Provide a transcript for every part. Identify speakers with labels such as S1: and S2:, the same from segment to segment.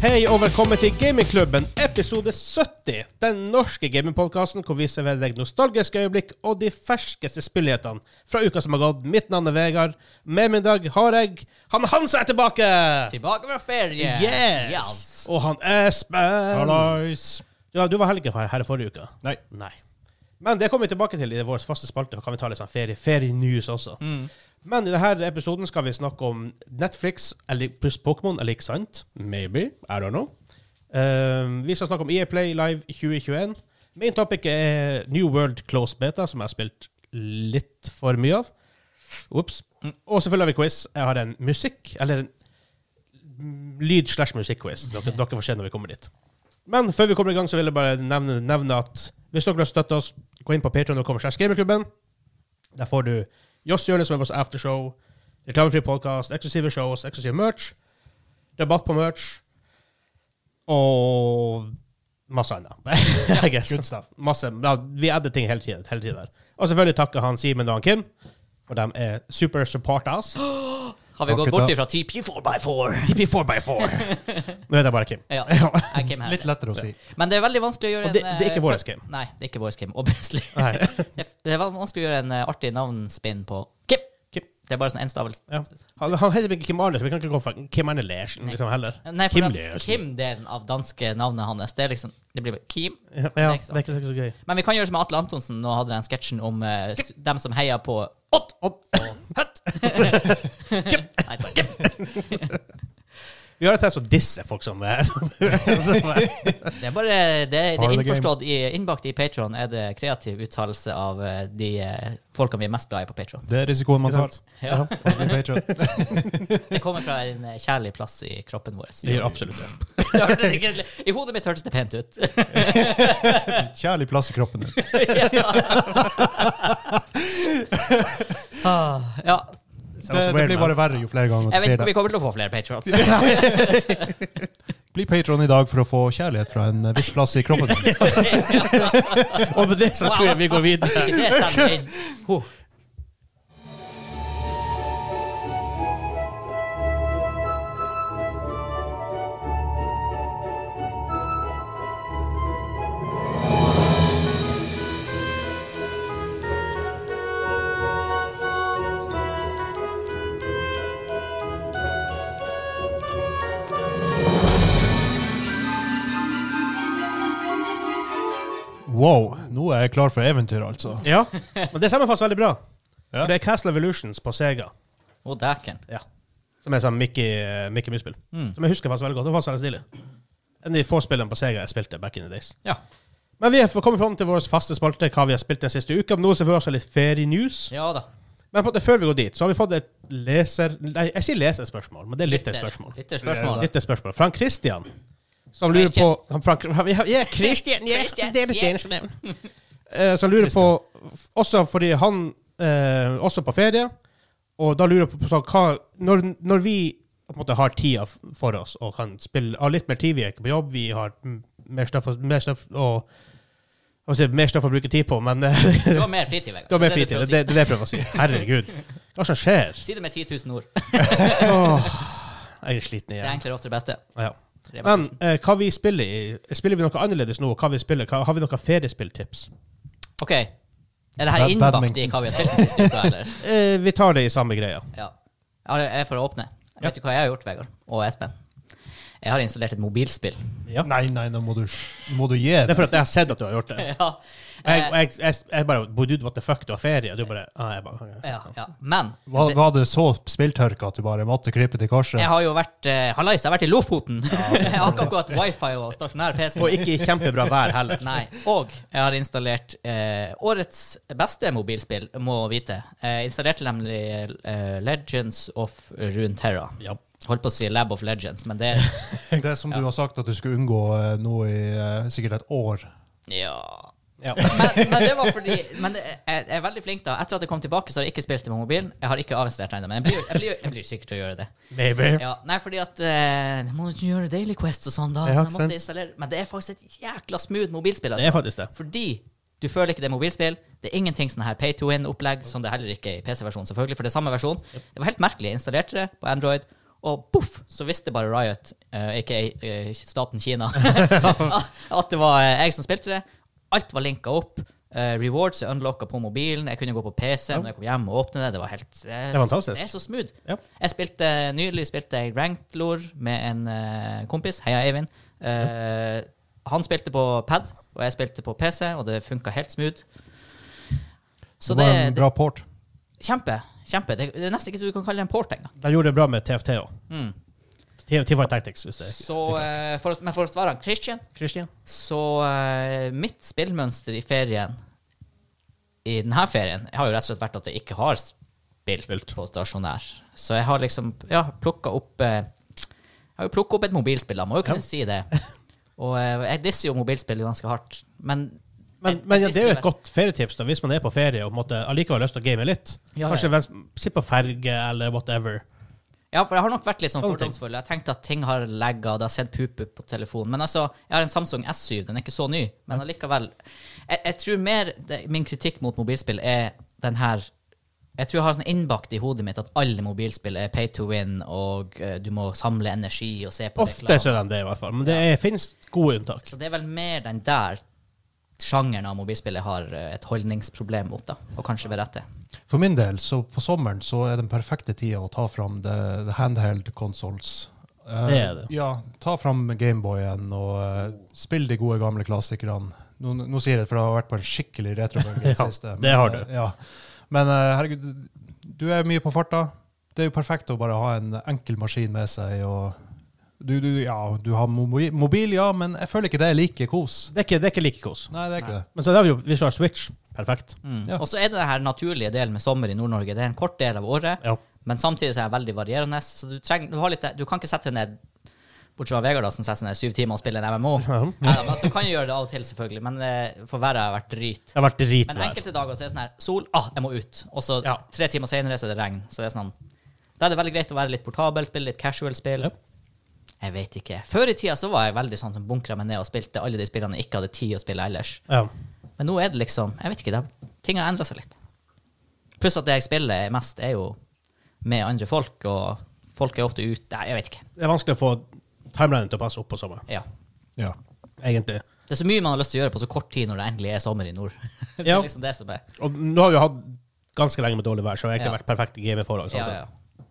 S1: Hei og velkommen til Gamingklubben, episode 70. Den norske gamingpodkasten hvor vi serverer deg nostalgiske øyeblikk og de ferskeste spillnyhetene fra uka som har gått. Mitt navn er Vegard. Med meg i dag har jeg Han Hansa er tilbake!
S2: Tilbake fra ferie!
S1: Yes! Og han Espen.
S3: Hallais.
S1: Ja, du var heller ikke her, her forrige uke.
S3: Nei.
S1: Nei. Men det kommer vi tilbake til i vår faste spalte, for kan vi ta litt sånn ferie, ferienews også. Men i denne episoden skal vi snakke om Netflix eller pluss Pokémon, eller ikke sant? Maybe. I don't know. Ehm, vi skal snakke om EA Play Live 2021. Main topic er New World Close Beta, som jeg har spilt litt for mye av. Ops. Og selvfølgelig har vi quiz. Jeg har en musikk, eller en lyd slash musikk-quiz. Dere, dere får se når vi kommer dit. Men før vi kommer i gang, så vil jeg bare nevne, nevne at hvis dere har støttet oss, gå inn på patreon.com. Gamerklubben. Der får du Joss Hjørne, som er vårt aftershow, reklamefri podkast, eksklusive shows, eksklusiv merch, debatt på merch og masse annet. I guess. Masse, ja, vi adder ting hele tiden, hele tiden der. Og selvfølgelig takker han Simen og han Kim, for de er super supporters.
S2: Har vi gått
S3: Takk,
S2: bort
S3: da.
S2: ifra TP 4x4?
S1: TP4x4. Nå er det bare Kim.
S2: Ja, jeg Kim her.
S3: Litt lettere å si.
S2: Men det er veldig vanskelig å gjøre
S1: Og det-
S2: en eh,
S1: det er ikke vår
S2: fø-
S1: Kim.
S2: Nei, det er ikke vår Kim, obviously.
S1: Nei.
S2: det er- det er veldig vanskelig å gjøre en eh, artig navnspinn på Kim.
S1: Kim.
S2: Det er bare sånn enstavelse.
S1: Ja. Han, han heter ikke Kim Arne, så vi kan ikke gå for Kim Arne Lersen liksom, heller.
S2: Nei, for
S1: Kim
S2: at Kim-delen av danske navnet hans, det er liksom Det blir bare Kim.
S1: Ja,
S2: Det
S1: ja,
S2: er ikke
S1: det er ikke så gøy.
S2: Men vi kan gjøre som Atle Antonsen nå hadde den sketsjen om eh, s- dem som heier på Odd. Høtt. Nei, takk.
S1: Vi har et test å disse folk som er som, som er.
S2: Det er bare det, det
S3: Part
S2: er
S3: of the
S2: innforstått i, innbakt i Patron er det kreativ uttalelse av eh, de eh, folkene vi er mest glad i på Patron.
S3: Det er risikoen man tar.
S2: Ja.
S3: på The Patriot.
S2: Det kommer fra en eh, kjærlig plass i kroppen vår.
S1: Vi gjør absolutt det.
S2: Det hørtes ikke- I hodet mitt hørtes det pent ut.
S3: Kjærlig plass i kroppen din.
S2: Ah, ja.
S3: Det, det blir bare verre jo flere ganger
S2: Jeg
S3: du
S2: vet
S3: sier
S2: ikke om vi kommer
S3: det.
S2: til å få flere Patrons.
S3: Bli patron i dag for å få kjærlighet fra en eh, viss plass i kroppen din.
S1: Og med det så tror jeg vi går videre.
S2: Det stemmer inn. Huh.
S3: Wow, nå er jeg klar for eventyr, altså.
S1: Ja, men det sammenfattes veldig bra.
S3: Ja.
S1: For det er Castle Evolutions på Sega.
S2: Å, dæken.
S1: Ja. Som er sånn Mickey, Mickey Mouse-spill.
S2: Mm.
S1: Som jeg husker faktisk veldig godt. Det var faktisk veldig stilig. En av de få spillene på Sega jeg spilte back in the days.
S2: Ja.
S1: Men vi er kommet fram til vår faste spalte, hva vi har spilt den siste uka. Men nå er det selvfølgelig også litt ferienews.
S2: ja da.
S1: Men på, før vi går dit, så har vi fått et leser... Nei, jeg sier leserspørsmål, men det er
S2: eh,
S1: lytterspørsmål.
S2: Lytterspørsmål.
S1: Lytterspørsmål. Frank Christian, som lurer på han Frank, Ja, ja, Christian! Ja,
S2: Christian,
S1: det er litt
S2: ja.
S1: engelsk navn. Eh, Som lurer på Også fordi han eh, også på ferie, og da lurer jeg på, på sånn, hva når, når vi på en måte har tida f- for oss og kan spille har litt mer tid, vi er ikke på jobb, vi har m- mer stoff, å- mer stoff, og, hva skal jeg si, mer stoff å bruke tid på, men eh,
S2: Du har mer fritid, Vegard.
S1: du har mer
S2: Det er det
S1: fritid.
S2: du
S1: Det, det er det
S2: prøver å
S1: jeg prøver å si. Herregud. Hva som skjer?
S2: si. Si det med 10 000 ord.
S1: Åh, jeg er sliten
S2: Det er
S1: igjen.
S2: enklere ofte det beste.
S1: Ja.
S2: Det er bare
S1: Men eh, hva vi spiller i Spiller vi noe annerledes nå? Hva vi spiller? Hva, har vi noen feriespilltips?
S2: OK. Er det her
S3: Bad-
S2: innbakt i
S3: badminton.
S2: hva vi har spilt den siste uka, eller?
S1: Eh, vi tar det i samme greia.
S2: Ja. Ja, det er for å åpne.
S1: Ja.
S2: Vet du hva jeg har gjort, Vegard? Og Espen? Jeg har installert et mobilspill.
S1: Ja.
S3: Nei, nei, nå må du, må du gi
S1: Det
S3: det.
S1: er fordi jeg har sett at du har gjort det.
S2: Ja.
S1: Jeg, jeg, jeg, jeg bare «Bo, Dude, what the fuck, du har ferie? Og du bare ah, jeg bare
S2: Ja, ja. Men
S3: Var,
S2: det,
S3: var det så spilltørke at du bare måtte krype til korset?
S2: jeg har jo vært eh, Hallais, jeg har vært i Lofoten! jeg har ikke akkurat wifi og stasjonær PC.
S1: Og ikke i kjempebra vær heller.
S2: Nei. Og jeg har installert eh, årets beste mobilspill, må vite. Jeg installerte nemlig eh, Legends of Runeterra.
S1: Ja.
S2: Holdt på å si Lab of Legends, men det
S3: Det som du har sagt at du skulle unngå eh, nå i eh, sikkert et år.
S2: Ja.
S1: Ja.
S2: men, men det var fordi Men det- jeg jeg er veldig flink da. Etter at jeg kom tilbake, så har jeg ikke spilt det på mobilen. Jeg har ikke avinstallert ennå, men jeg blir, jeg, blir, jeg blir sikkert til å gjøre det.
S1: Baby.
S2: Ja, nei, fordi at eh, Jeg må jo ikke gjøre Daily Quest og sånn, da.
S3: Ja,
S2: Så jeg
S3: ikke
S2: måtte installere Men det er faktisk et jækla smooth mobilspill.
S1: Det
S2: Altså.
S1: er faktisk det.
S2: Fordi du føler ikke det er mobilspill. Det er ingenting sånn her pay to win-opplegg, som det heller ikke er i PC-versjonen, selvfølgelig, for det er samme versjon. Det var helt merkelig. Jeg installerte det på Android, Og poff, så visste bare Riot, eh, aka eh, staten Kina, at det var eh, jeg som spilte det. Alt var linka opp. Eh, rewards er unlocka på mobilen. Jeg kunne gå på PC
S1: Ja.
S2: når jeg kom hjem og åpne det. Det var helt eh,
S1: Det er fantastisk.
S2: Det er så smooth.
S1: Ja.
S2: Jeg spilte nylig spilte jeg ranked lore med en eh, kompis. Heia Eivind. Eh, Han spilte på pad, og jeg spilte på PC, og det funka helt smooth. Så det,
S3: var en
S2: det
S3: bra port.
S2: Kjempe. kjempe. Det, det er nesten ikke så du kan kalle det en port engang.
S1: De gjorde det bra med TFT òg.
S2: Mm.
S1: T5 Tactics, hvis det er
S2: Så, eh, for, å- men for å svare han Christian,
S1: Christian.
S2: så eh, mitt spillmønster i ferien I denne ferien har jo rett og slett vært at jeg ikke har spilt,
S1: Spilt.
S2: på stasjonær. Så jeg har liksom ja, plukka opp eh, Jeg har jo plukka opp et mobilspill, da, må jo kunne si det. Og eh, jeg disser jo mobilspill ganske hardt, men
S1: Men,
S2: jeg-
S1: men ja,
S2: jeg
S1: det er jo
S2: disser
S1: et godt ferietips da, hvis man er på ferie og på en måte allikevel har lyst til å game litt.
S2: Ja, ja.
S1: Kanskje vel- sitte på ferge eller whatever.
S2: Ja, for jeg har nok vært litt sånn
S1: Sånne ting.
S2: fordomsfull. Jeg tenkte at ting har lagga, og jeg har sett puper på telefonen. Men altså, jeg har en Samsung S7, den er ikke så ny, men allikevel Jeg, jeg tror mer det, min kritikk mot mobilspill er den her Jeg tror jeg har sånn innbakt i hodet mitt at alle mobilspill er pay to win, og eh, du må samle energi og se på
S1: Ofte
S2: reklame.
S1: så er de det, i hvert fall. Men det er, finnes gode unntak.
S2: Så det er vel mer den der sjangeren av mobilspill jeg har eh, et holdningsproblem mot, da, og kanskje ved rette.
S3: For min del, så på sommeren så er den perfekte tida å ta fram the, the handheld consoles. Eh,
S1: Det er det.
S3: Ja, ta fram Gameboyen og eh, spill de gode gamle klassikerne. Nå, nå sier jeg det, for jeg har vært på en skikkelig retrobølge i det
S1: Ja,
S3: siste.
S1: det har
S3: eh,
S1: du.
S3: Ja. Men eh, herregud, du er mye på farta. Det er jo perfekt å bare ha en enkel maskin med seg. og du, du, ja, du har mobi- mobil, ja, men jeg føler ikke det er like kos.
S1: Det er ikke, det er ikke like kos.
S3: Nei, det er ikke det.
S1: Men så er det jo Visual Switch. Perfekt.
S2: Mm.
S3: Ja.
S2: Og så er det den her naturlige delen med sommer i Nord-Norge. Det er en kort del av året,
S1: Ja.
S2: men samtidig så er den veldig varierende. Så du, trenger, du, har litt, du kan ikke sette deg ned Bortsett fra Vegard, da, som setter seg ned i syv timer og spiller en MMO.
S1: Ja.
S2: Neida, men så kan jeg gjøre det av og til, selvfølgelig. Men eh, for været har vært drit.
S1: Det har vært
S2: Men
S1: dritvær.
S2: enkelte dager så er det sånn her Sol, ah, jeg må ut. Og så
S1: Ja.
S2: tre timer senere så er det regn. Så det er sånn Da er det veldig greit å være litt portabel, spille litt casual spill.
S1: Ja.
S2: Jeg vet ikke. Før i tida så var jeg veldig sånn som bunkra meg ned og spilte alle de spillene jeg ikke hadde tid å spille ellers.
S1: Ja.
S2: Men nå er det liksom Jeg vet ikke, det, har- ting har endra seg litt. Pluss at det jeg spiller mest, er jo med andre folk, og folk er ofte ute Nei, jeg vet ikke.
S1: Det er vanskelig å få timelinen til å passe opp på sommeren,
S2: Ja.
S3: Ja.
S1: egentlig.
S2: Det er så mye man har lyst til å gjøre på så kort tid når det endelig er sommer i nord. det
S1: Ja.
S2: er liksom det som er
S1: Og nå har vi jo hatt ganske lenge med dårlig vær, så det har egentlig
S2: Ja.
S1: vært perfekte gameforhold. Sånn
S2: ja,
S1: sett.
S2: ja.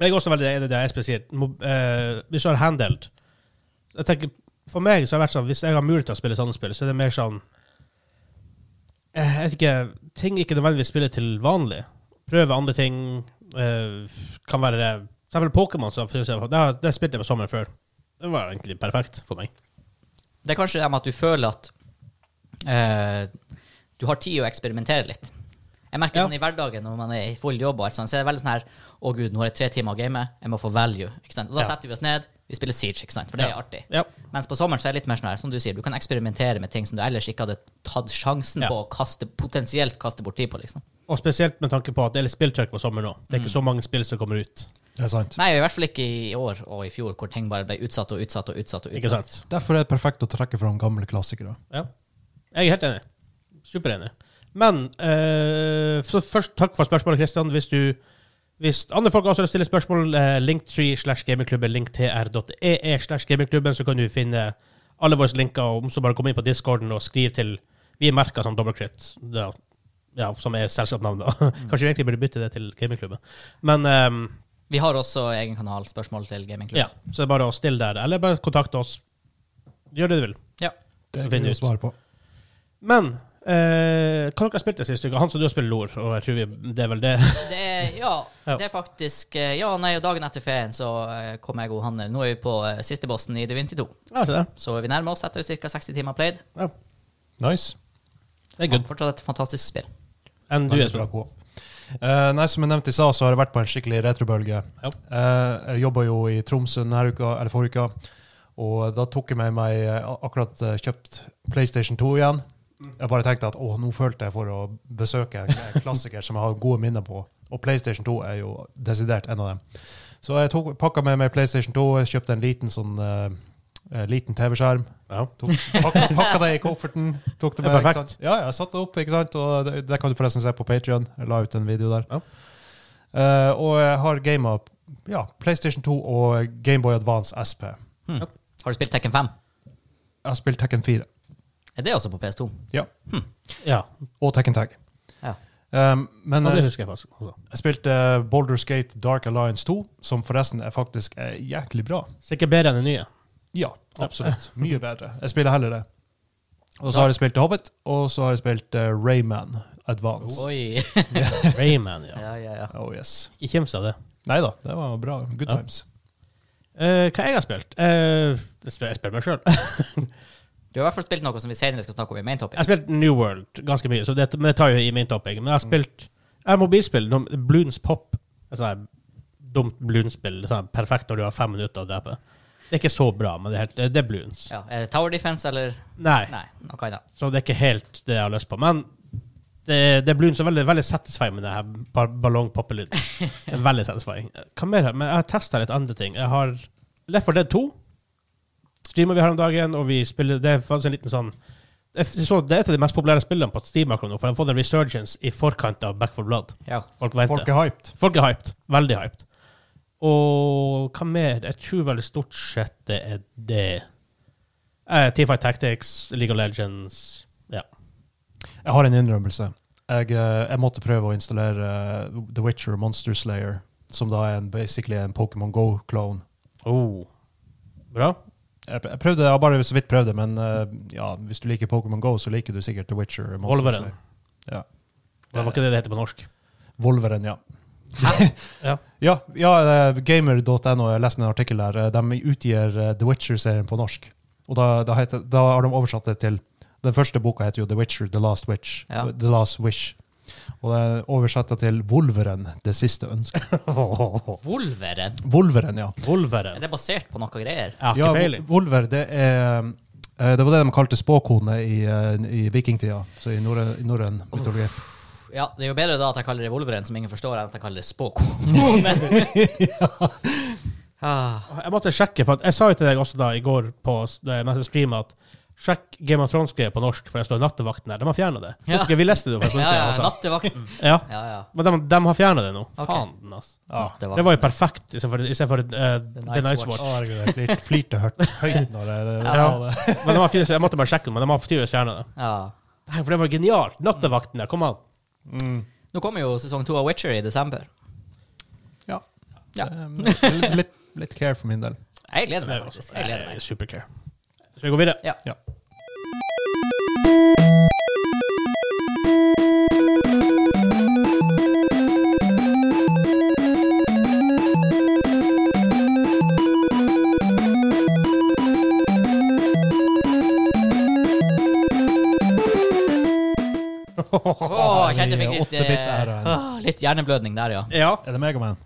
S1: Jeg er også veldig enig i det Espen sier. Mo- eh, Hvis du har handled jeg tenker, For meg så har det vært sånn hvis jeg har mulighet til å spille sånne spill, så er det mer sånn eh, Jeg vet ikke Ting jeg ikke nødvendigvis spiller til vanlig. Prøve andre ting. eh, kan være det. For eksempel Pokémon. så synes jeg- Det har- det spilte jeg på sommeren før. Det var egentlig perfekt for meg.
S2: Det er kanskje det med at du føler at eh, du har tid å eksperimentere litt. Jeg merker
S1: Ja.
S2: sånn i hverdagen når man er i full jobb, og alt sånt, så er det veldig sånn her Å, gud, nå har jeg tre timer å game. Jeg må få value. Ikke sant? Og da
S1: Ja.
S2: setter vi oss ned, vi spiller Siege, ikke sant? for det er
S1: Ja.
S2: artig.
S1: Ja.
S2: Mens på sommeren så er det litt mer sånn her, som du sier, du kan eksperimentere med ting som du ellers ikke hadde tatt sjansen
S1: Ja.
S2: på å kaste, potensielt kaste bort tid på, liksom.
S1: Og spesielt med tanke på at det er litt spilltrykk på sommeren nå. Det er ikke så mange spill som kommer ut.
S3: Det er sant.
S2: Nei, i hvert fall ikke i år og i fjor, hvor ting bare ble utsatt og utsatt og utsatt. og utsatt.
S1: Ikke sant?
S3: Derfor er det perfekt å trekke fram gamle klassikere.
S1: Ja. Jeg er helt enig. Superenig. Men eh, så først takk for spørsmålet, Kristian. Hvis du hvis andre folk også har lyst til å stille spørsmål, eh, linktree slash gamingklubben, linktr.ee slash gamingklubben, så kan du finne alle våre linker, og så bare komme inn på discorden og skriv til Vi er merka som dobbeltkritt, ja, ja, som er selskapsnavnet. da. Kanskje vi egentlig burde bytte det til gamingklubben. Men ehm,
S2: Vi har også egen kanal, spørsmål til
S1: ja,
S2: gamingklubben.
S1: så det er bare å stille der, eller bare kontakte oss. Gjør det du vil.
S2: Ja.
S1: Det
S3: Det vil
S1: finner
S3: vi
S1: ut.
S3: svare på.
S1: Men eh, hva har dere spilt det siste uka? Han som du har spilt LOR, og jeg tror vi, det er vel det.
S2: Det er, ja,
S1: Ja.
S2: det er faktisk eh, Ja, nei, og dagen etter ferien så eh, kom jeg og han eh, Nå er vi på eh, siste bossen i Divinity 2.
S1: Ja, se der.
S2: Så vi nærmer oss etter ca. 60 timer played.
S1: Ja,
S3: Nice.
S1: det er
S2: Ja,
S1: good.
S2: Fortsatt et fantastisk spill.
S1: Enn du,
S3: Veldig bra
S1: Espen?
S3: Coop. Eh, nei, Som jeg nevnte i stad, så har jeg vært på en skikkelig retrobølge.
S1: Ja.
S3: Eh, jeg jobba jo i Tromsø denne uka, eller forrige uka, og da tok jeg med meg eh, akkurat eh, kjøpt PlayStation 2 igjen.
S1: Mm.
S3: Jeg bare tenkte at å, nå følte jeg for å besøke en- en klassiker som jeg har gode minner på. Og PlayStation 2 er jo desidert en av dem. Så jeg tok- pakka med meg PlayStation 2, jeg kjøpte en liten sånn eh, eh, liten TV-skjerm.
S1: Ja.
S3: Tok- Pakka, pakka det i kofferten. Tok det
S1: Det
S3: med,
S1: er
S3: ikke
S1: perfekt.
S3: sant? Ja, jeg satte det opp, ikke sant? og det, det kan du forresten se på Patrion. Jeg la ut en video der.
S1: Ja.
S3: Eh, og jeg har gama ja, PlayStation 2 og Gameboy Advance SP.
S2: Hmm. Har du spilt Tekken 5?
S3: Jeg har spilt Tekken 4
S2: Er det også på PS2?
S3: ja.
S1: Ja,
S3: og Tekken Tag.
S2: Ja.
S3: Um, men
S1: og det
S3: jeg,
S1: husker jeg faktisk. også.
S3: jeg spilte Boulder Skate Dark Alliance 2, som forresten er faktisk er jæklig bra.
S1: Sikkert bedre enn det nye.
S3: Ja, absolutt. Mye bedre. Jeg spiller heller det. Og så har jeg spilt The Hobbit, og så har jeg spilt eh, Rayman Advance. Oh,
S2: Oi.
S1: Rayman, ja.
S2: ja, ja, ja.
S3: yes.
S1: Ikke kjems av det.
S3: Nei da, det var bra. Good
S1: Ja.
S3: times.
S1: Eh, hva jeg har spilt? Eh, jeg spiller- jeg spiller meg sjøl.
S2: Du har i hvert fall spilt noe som vi senere skal snakke om i main topic.
S1: Jeg har spilt New World ganske mye, så det, men det tar jo i min topping. Men jeg har spilt jeg har mobilspill, no- Bloons Pop. Et sånt her dumt Bloons-spill. Sånn her perfekt når du har fem minutter å drepe. Det er ikke så bra, men det er, helt, det er Bloons.
S2: Ja, er det Tower Defense eller
S1: Nei,
S2: Nei, noe annet.
S1: så det er ikke helt det jeg har lyst på. Men det, det er Bloons er veldig, veldig satisfying med det her ba- ballongpoppelyden. Det er veldig satisfying. Hva mer? Men jeg har testa litt andre ting. Jeg har Left 4 Dead 2. Streamer vi her om dagen, og vi spiller Det er faktisk en liten sånn jeg så Det er et av de mest populære spillene på Steam akkurat nå, for de har fått en resurgence i forkant av Back 4 Blood.
S2: Ja.
S1: Folk venter.
S3: Folk er hyped.
S1: Folk er hyped. Veldig hyped. Og hva mer? Jeg tror veldig stort sett det er det. Eh, T5 Tactics, League of Legends Ja.
S3: Jeg har en innrømmelse. Jeg, eh, jeg måtte prøve å installere eh, The Witcher Monster Slayer, som da er en, basically en Pokémon Go-klone.
S1: Oh. Bra.
S3: Jeg pr- jeg prøvde, jeg har bare så vidt prøvd det, men eh, ja, hvis du liker Pokémon Go, så liker du sikkert The Witcher. Monster
S1: Wolverine.
S3: Slayer. Ja.
S1: Det var ikke det det heter på norsk.
S3: Wolveren, ja.
S2: Hæ?
S1: Ja.
S3: Ja, ja eh, gamer.no, jeg leste en artikkel der. eh, De utgir eh, The Witcher-serien på norsk. Og da, da, heter, da har de oversatt det til Den første boka heter jo The Witcher, The Last Witch.
S2: Ja.
S3: The Last Wish. Og det er oversatt det til Wolveren, det siste ønsket.
S2: Wolveren?
S3: Wolveren, ja.
S2: Er
S1: Wolveren.
S2: det basert på noe greier?
S1: Jeg har
S3: ja
S1: ikke peiling.
S3: Vol- Wolver, det er eh, Det var det de kalte spåkone i, eh, i vikingtida, så i norrø- i norrøn mytologi.
S2: Ja, det er jo bedre da at jeg kaller det Wolveren, som ingen forstår, enn at jeg kaller det Spåk. ah,
S1: Jeg måtte sjekke, for at jeg sa jo til deg også da i går på, s- da jeg- mens jeg streama at Sjekk Game of Thrones-greier på norsk, for jeg står i nattevakten her. De har fjerna det.
S2: Ja.
S1: Husker vi leste det jo for en
S2: ja,
S1: stund
S2: ja,
S1: siden. altså.
S2: nattevakten.
S1: Ja.
S2: Ja, ja.
S1: Men de, de har fjerna det nå.
S2: Ok.
S1: Faen, altså.
S2: Nattevakten.
S1: Det var jo perfekt istedenfor istedenfor, eh, The
S2: Night's
S1: Night's
S2: Watch.
S1: Watch.
S3: Å, herregud, jeg flir- flirte høyt høyt når jeg jeg
S1: Ja.
S3: sa det.
S1: Men de har tydeligvis- jeg måtte bare sjekke det, men de har tydeligvis fjerna det.
S2: Ja.
S1: Nei, For det var genialt. Nattevakten der, kom an.
S2: Nå kommer jo sesong to av Witcher i desember.
S3: Ja.
S2: Ja.
S3: Eh, Litt, litt care for min del.
S2: Jeg gleder meg faktisk. Jeg gleder meg.
S1: Supercare. Skal vi gå videre?
S2: Ja.
S3: Ja.
S2: Åh, jeg kjente jeg fikk litt, eh,
S3: Åttebit-æraen.
S2: åh, litt hjerneblødning der, ja.
S1: Ja.
S3: Er det Megaman?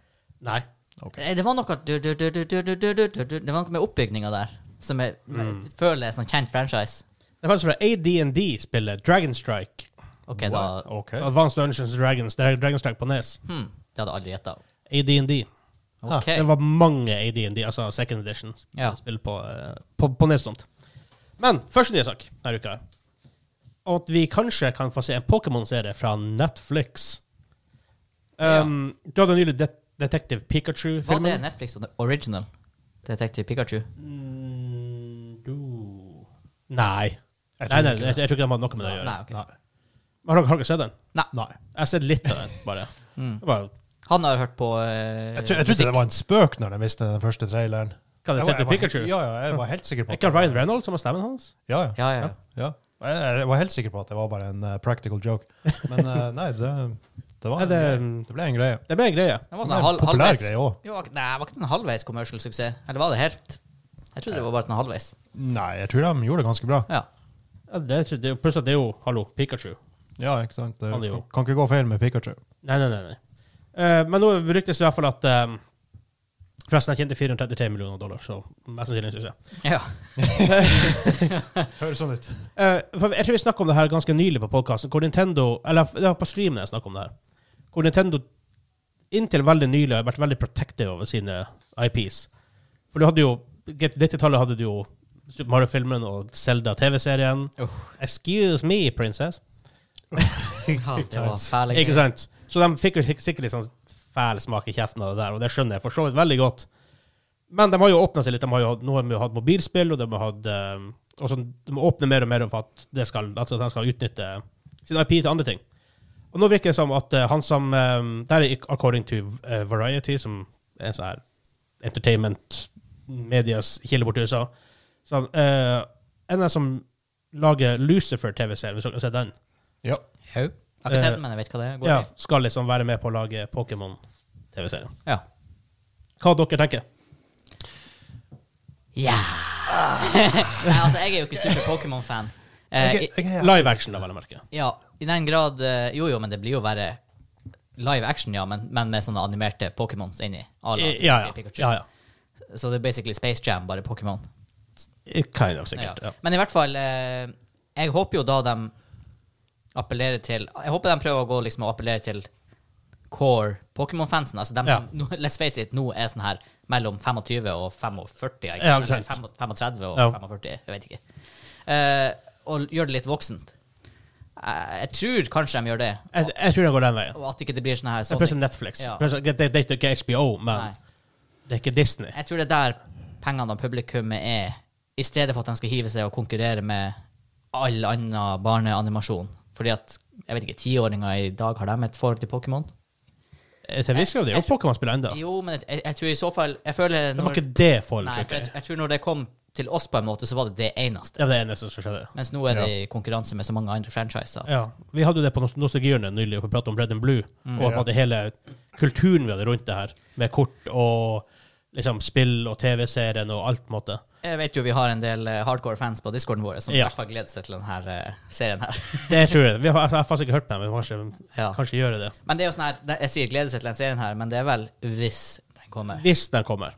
S1: Nei.
S2: Nei, Eh, Det var noe du, du, du, du, du, du, du, du, du. Det var noe med oppbygninga der som jeg jeg føler er sånn kjent franchise.
S1: Det er faktisk fra AD&D-spillet Dragonstrike.
S2: Ok, da
S3: Okay.
S1: Så Advanced Dungeons and Dragons. Det er Dragonstrike på E nes.
S2: hmm, Det hadde jeg aldri gjetta.
S1: AD&D.
S2: Ok.
S1: Det var mange AD&D, altså second edition,
S2: Ja.
S1: spill på, eh, på, på nes og sånt. Men første nye sak denne uka er at vi kanskje kan få se en Pokémon-serie fra Netflix. Um, Du hadde nylig Det Detective
S2: Var det
S1: Pikachu-filmen.
S2: Netflix og original? Detective Pikachu?
S1: Mm, du Nei.
S3: Jeg
S1: nei,
S3: tror
S1: nei
S3: ikke
S1: jeg, jeg tror ikke de hadde noe med det å gjøre.
S2: Nei, ok.
S3: Nei.
S1: Har dere har dere sett den?
S2: Nei.
S1: Jeg har sett litt av den, bare.
S2: Mm.
S1: Det var-
S2: Han har hørt på eh,
S3: Jeg, tro, jeg trodde det var en spøk når jeg visste den første
S1: Hva er
S3: traileren.
S1: det,
S3: Jeg var- jeg
S1: Tete
S3: var-
S1: Pikachu?
S3: Ja, ja, jeg var helt sikker på
S1: Er
S3: at
S1: ikke Ryan Reynolds som har stemmen hans?
S3: Ja, ja.
S2: Ja, ja. ja.
S3: ja. Jeg, jeg var helt sikker på at det var bare en eh, practical joke. Men eh, nei, det, det, var
S1: Nei, det-
S3: en, greie. det ble en greie.
S1: Det ble en greie.
S2: Det var sånn
S3: Det var en
S2: halv,
S3: populær
S2: halvveis
S3: greie òg.
S2: jo, ak- Nei, var ikke det en halvveis commercial suksess? Eller var det helt Jeg trodde det var bare sånn halvveis.
S3: Nei, jeg tror de gjorde det ganske bra.
S2: Ja.
S1: Ja, det, tror jeg- det, er jo- pluss at det er jo Hallo, Pikachu.
S3: Ja, ikke sant? Det
S1: Han er jo-
S3: kan, kan ikke gå feil med Pikachu.
S1: Nei, nei, nei. nei. Eh, men nå ryktes det i hvert fall at eh, Forresten, jeg tjente 433 millioner dollar, så mest sannsynlig synes jeg.
S2: ja.
S3: Høres sånn ut.
S1: Eh, for jeg tror vi snakket om det her ganske nylig på podkasten, hvor Nintendo Eller det var på streamen jeg snakket om det her. Hvor Nintendo inntil veldig nylig har vært veldig protective over sine IPs. For du hadde jo 90-tallet hadde du jo Super Mario-filmen og Zelda-TV-serien.
S2: Uff.
S1: Excuse me, princess.
S2: ja det var fæle
S1: Ikke sant? Så de fikk jo sik- sikkert litt sånn fæl smak i kjeften av det der, og det skjønner jeg for så vidt veldig godt. Men de har jo åpna seg litt. De har jo, hatt- nå har de jo hatt mobilspill, og de har hatt eh, og sånn, De må åpne mer og mer for at, det skal, altså at de skal utnytte sin IP til andre ting. Og nå virker det som at eh, han som eh, Der er according to eh, Variety, som er en sånn her entertainment medias kilde borti USA så, eh, En av dem som lager Lucifer-TV-serien, hvis dere har sett den,
S3: Ja.
S2: Jau. Jeg har ikke sett den, men jeg vet hva det går
S1: ja,
S2: i.
S1: skal liksom være med på å lage Pokémon-TV-serien.
S2: Ja.
S1: Hva dere tenker
S2: Ja! Nei, altså, jeg er jo ikke super Pokémon-fan. Eh, i-
S1: Live action, da, vel å merke.
S2: ja, i den grad eh, Jo, jo, men det blir jo bare live action, ja, men, men med sånne animerte Pokémons inni. à la
S1: Ja, ja.
S2: Pikachu.
S1: ja, ja.
S2: Så det er basically Space Jam, bare Pokémon.
S1: Kind of,
S2: Ja.
S1: sikkert. Ja.
S2: Men i hvert fall, eh, jeg håper jo da de appellerer til Jeg håper de prøver å gå liksom og appellere til core Pokémon-fansen. Altså dem
S1: Ja.
S2: som, nå- let's face it, nå er sånn her mellom 25 og 45, ikke
S1: Ja,
S2: sant? Eller
S1: sant.
S2: 5 35 og
S1: Ja.
S2: 45, jeg vet ikke. Eh, og gjør det litt voksent. Eh, jeg tror kanskje de gjør det,
S1: Jeg, jeg tror jeg går den veien.
S2: og at ikke det blir sånn her
S1: Det er plutselig
S2: Sonic.
S1: Netflix.
S2: Ja.
S1: Plutselig- Det det er ikke HBO, men
S2: Nei.
S1: det er ikke Disney.
S2: Jeg tror det er der pengene og publikummet er, i stedet for at de skal hive seg og konkurrere med all annen barneanimasjon. Fordi at, jeg vet ikke, tiåringer i dag, har de et forhold til Pokémon?
S1: Til en viss grad det er jo Pokémon-spill ennå.
S2: Jo, men jeg, jeg, jeg tror i så fall Jeg føler
S1: Det var
S2: når,
S1: ikke det folk
S2: Nei,
S1: fikk.
S2: for jeg, jeg tror når det kom til oss på en måte, så var det det eneste.
S1: Ja, det er det eneste som skjedde.
S2: Mens nå er det i konkurranse med så mange andre franchiser.
S1: Ja. Vi hadde jo det på Nost- nostalgihjørnet nylig, hvor vi pratet om Red and Blue,
S2: Mm.
S1: og på en måte hele kulturen vi hadde rundt det her, med kort og liksom spill og TV-serien og alt, på en måte.
S2: Jeg vet jo vi har en del eh, hardcore fans på discorden vår som i
S1: Ja.
S2: hvert fall gleder seg til denne eh, serien her.
S1: Det tror jeg. Vi har, altså, jeg har faktisk ikke hørt på dem, men kanskje,
S2: Ja.
S1: kanskje gjøre det.
S2: Men det er jo sånn her, det- jeg sier gleder seg til denne serien her, men det er vel hvis den kommer.
S1: Hvis den kommer.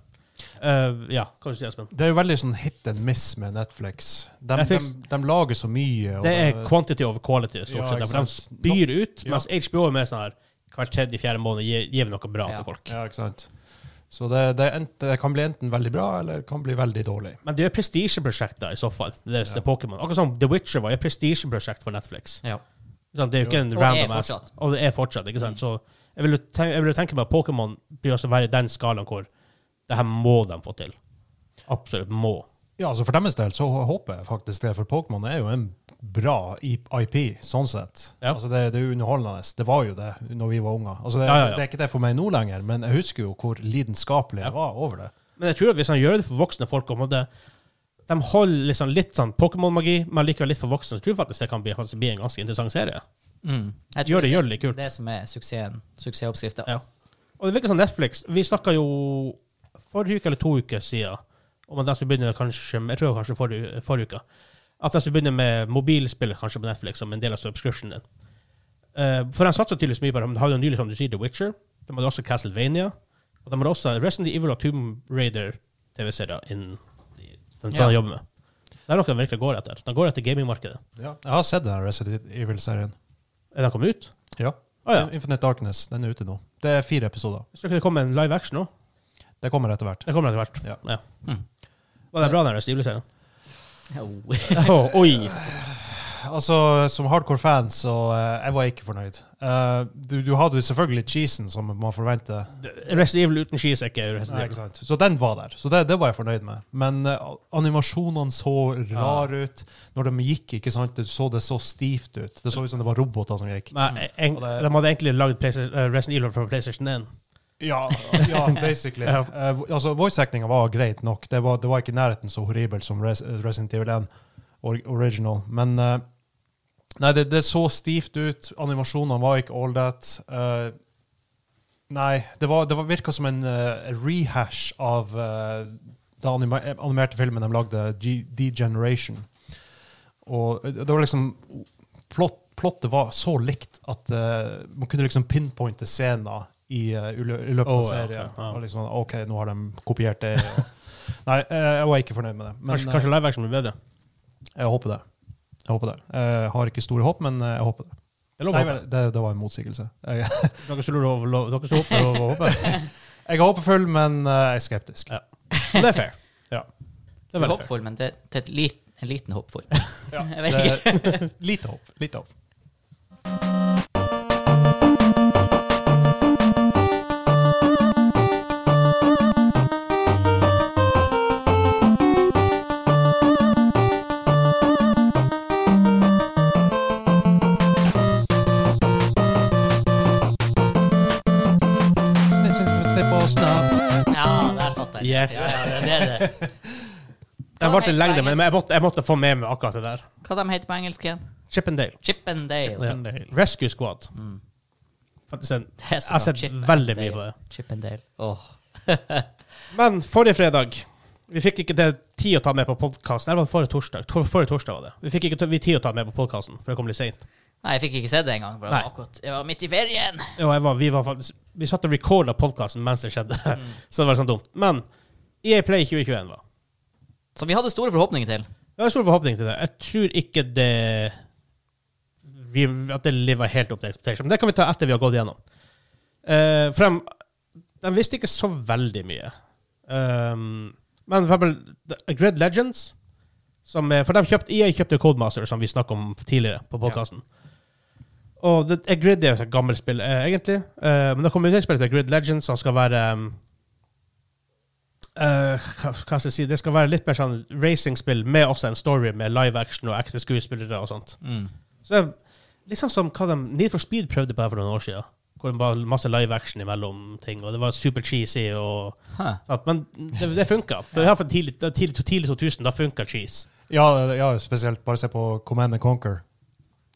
S1: Eh, ja, kanskje det, Espen.
S3: Det er jo veldig sånn hit and miss med Netflix. De,
S1: Netflix-
S3: de, de lager så mye. og
S1: Det er quantity over quality,
S3: Ja,
S1: stort sett.
S3: ikke
S1: for de
S3: sant.
S1: spyr ut,
S3: Ja.
S1: mens HBO er mer sånn her hver tredje-fjerde måned gi- gir vi noe bra
S2: Ja.
S1: til folk.
S3: Ja, ikke sant. Så det, det, er ent- det kan bli enten veldig bra, eller det kan bli veldig dårlig.
S1: Men det er prestisjeprosjekter, i så fall. Det er det er Pokémon. Akkurat som The Witcher var et prestisjeprosjekt for Netflix.
S2: Ja.
S1: Sånn, det er jo ikke en
S2: Og er
S1: random ass.
S2: fortsatt.
S1: Og det er fortsatt. ikke
S3: Mm.
S1: sant? Så jeg vil, jo tenke, jeg vil jo tenke meg at Pokémon blir også være i den skalaen hvor det her må de få til. Absolutt må.
S3: Ja, altså For deres del så håper jeg faktisk det, for Pokémon er jo en bra I- IP, sånn sett.
S1: Ja.
S3: Altså Det, det er jo underholdende. Det var jo det når vi var unger. Altså
S1: Ja,
S3: Det,
S1: ja, ja.
S3: det er ikke det for meg nå lenger, men jeg husker jo hvor lidenskapelig
S1: Ja.
S3: jeg var over det.
S1: Men jeg tror at hvis han gjør det for voksne folk og på en måte- De holder liksom litt sånn Pokémon-magi, men likevel litt for voksne. Så tror jeg faktisk det kan bli, faktisk bli en ganske interessant serie.
S2: Mm. Jeg tror
S1: Gjør det, gjør det litt kult.
S2: det er det som er suksessen, suksessoppskrifta.
S1: Ja. Og det virker som Netflix Vi snakka jo forrige uke eller to uker siden om at de skulle begynne kanskje Jeg tror kanskje forrige, forrige uke. At de skulle begynne med mobilspill kanskje på Netflix som en del av subscriptionen din. Eh, for de satser tydeligvis mye på det. De har jo nylig, som du sier, The Witcher. De hadde også Castlevania. Og de hadde også Resident Evil og Tomb Raider-TV-serier innen de, den
S2: Ja.
S1: de jobber med. Så Det er noe de virkelig går etter. De går etter gamingmarkedet.
S3: Ja. Jeg har sett den Resident Evil-serien.
S1: Er de kommet ut?
S3: Ja.
S1: Å ja.
S3: Infinite Darkness. Den er ute nå. Det er fire episoder.
S1: Hvis dere kommer en live action nå?
S3: Det kommer etter hvert.
S1: Det kommer etter hvert.
S3: Ja.
S2: Mm.
S1: Var det bra, den Resident Evil-serien?
S2: Oh.
S1: Åh, oi!
S3: Altså, som hardcore fan, så eh, jeg var ikke fornøyd. Eh, du, du hadde jo selvfølgelig cheesen, som man forventer.
S1: Resident Evil uten skis er ikke Resident
S3: Nei, ikke
S1: Evil.
S3: sant? Så den var der. Så det, det var jeg fornøyd med. Men eh, animasjonene så rare ut. Når de gikk, ikke sant, det så det så stivt ut. Det så ut som det var roboter som gikk.
S1: Men en,
S3: Mm. Og det-
S1: de hadde egentlig lagd Playsta- eh, Resident Evil for PlayStation 1.
S3: Ja, ja basically.
S1: Ja.
S3: Eh, vo- altså, Voice-actinga var greit nok. Det var, det var ikke i nærheten så horribelt som Res Resident Evil 1 or original. Men eh, nei, det, det så stivt ut. Animasjonene var ikke all that. Eh, nei, det, var, det var, virka som en eh, rehash av eh, den anima animerte filmen de lagde, G Degeneration. Og det var liksom plott, Plottet var så likt at eh, man kunne liksom pinpointe scener i, eh, i lø- i løpet av
S1: Å, ja,
S3: serien.
S1: ja, ja.
S3: Og liksom, OK, nå har de kopiert det. Og, nei, eh, jeg var ikke fornøyd med det. Men,
S1: Kanskje,
S3: eh,
S1: kanskje live action blir bedre.
S3: jeg håper det. Jeg håper det. Jeg har ikke store håp, men jeg håper det.
S1: Det lover
S3: Nei,
S1: jeg.
S3: vel, det, det var en motsigelse. Jeg,
S1: Dere som lurer over- lo- dere som håper over å håpe.
S3: jeg er håpefull, men eh, jeg er skeptisk.
S1: Ja. Men Det er fair.
S3: Ja.
S1: Det er veldig fair.
S2: Håpfull, men det, det er et lit, en liten håpfull. Jeg vet ikke.
S3: Det, lite håp. Lite håp.
S1: Yes.
S2: Ja, ja, det er det.
S1: Den
S2: Hva
S1: varte
S2: heter
S1: lengre, men
S2: engelsk?
S1: jeg måtte, jeg måtte få med meg akkurat det der.
S2: Hva de heter på engelsk igjen?
S1: Chippendale.
S2: Chippendale.
S1: Ja. Rescue Squad. Faktisk en,
S2: Det er
S1: jeg
S2: så
S1: har
S2: bra.
S1: sett
S2: Chip
S1: veldig
S2: and
S1: mye
S2: Dale.
S1: på det.
S2: Chippendale. Åh.
S1: Men forrige fredag Vi fikk ikke det tid å ta med på podkasten. Eller var det forrige torsdag? Tor forrige torsdag var det. Vi fikk ikke ta- vi tid å ta med på podkasten, for det kom litt seint.
S2: Nei, jeg fikk ikke sett det engang. for
S1: Nei.
S2: Jeg var akkurat- jeg var midt i ferien.
S1: Og jeg var, vi, var faktisk, vi satt og recorda podkasten mens det skjedde, så det var sånn dumt. Men EA Play 2021 var
S2: Som vi hadde store forhåpninger til.
S1: Jeg har stor forhåpning til det. Jeg tror ikke det vi, At det lever helt opp til expectation. Men det kan vi ta etter vi har gått gjennom. Eh, for de, de visste ikke så veldig mye. Um, men for eksempel The- Grid Legends som, er- For de kjøpte, EA kjøpte Codemaster, som vi snakket om tidligere på podkasten. Og det, eh, Grid er jo et gammelt spill, eh, egentlig. Eh, men det kommer jo et spill til Grid Legends, som skal være um, eh, hva hva skal jeg si, det skal være litt mer sånn racingspill med også en story med live action og ekte skuespillere og sånt. Så det er liksom som hva de, Need for Speed prøvde på her for noen år siden, hvor det var masse live action imellom ting, og det var super cheesy og
S2: Huh.
S1: sant, Men det, det funka. Det var for tidlig, det var tidlig, tidlig 2000, da funka cheese.
S3: Ja, ja, spesielt. Bare se på Command and Conquer.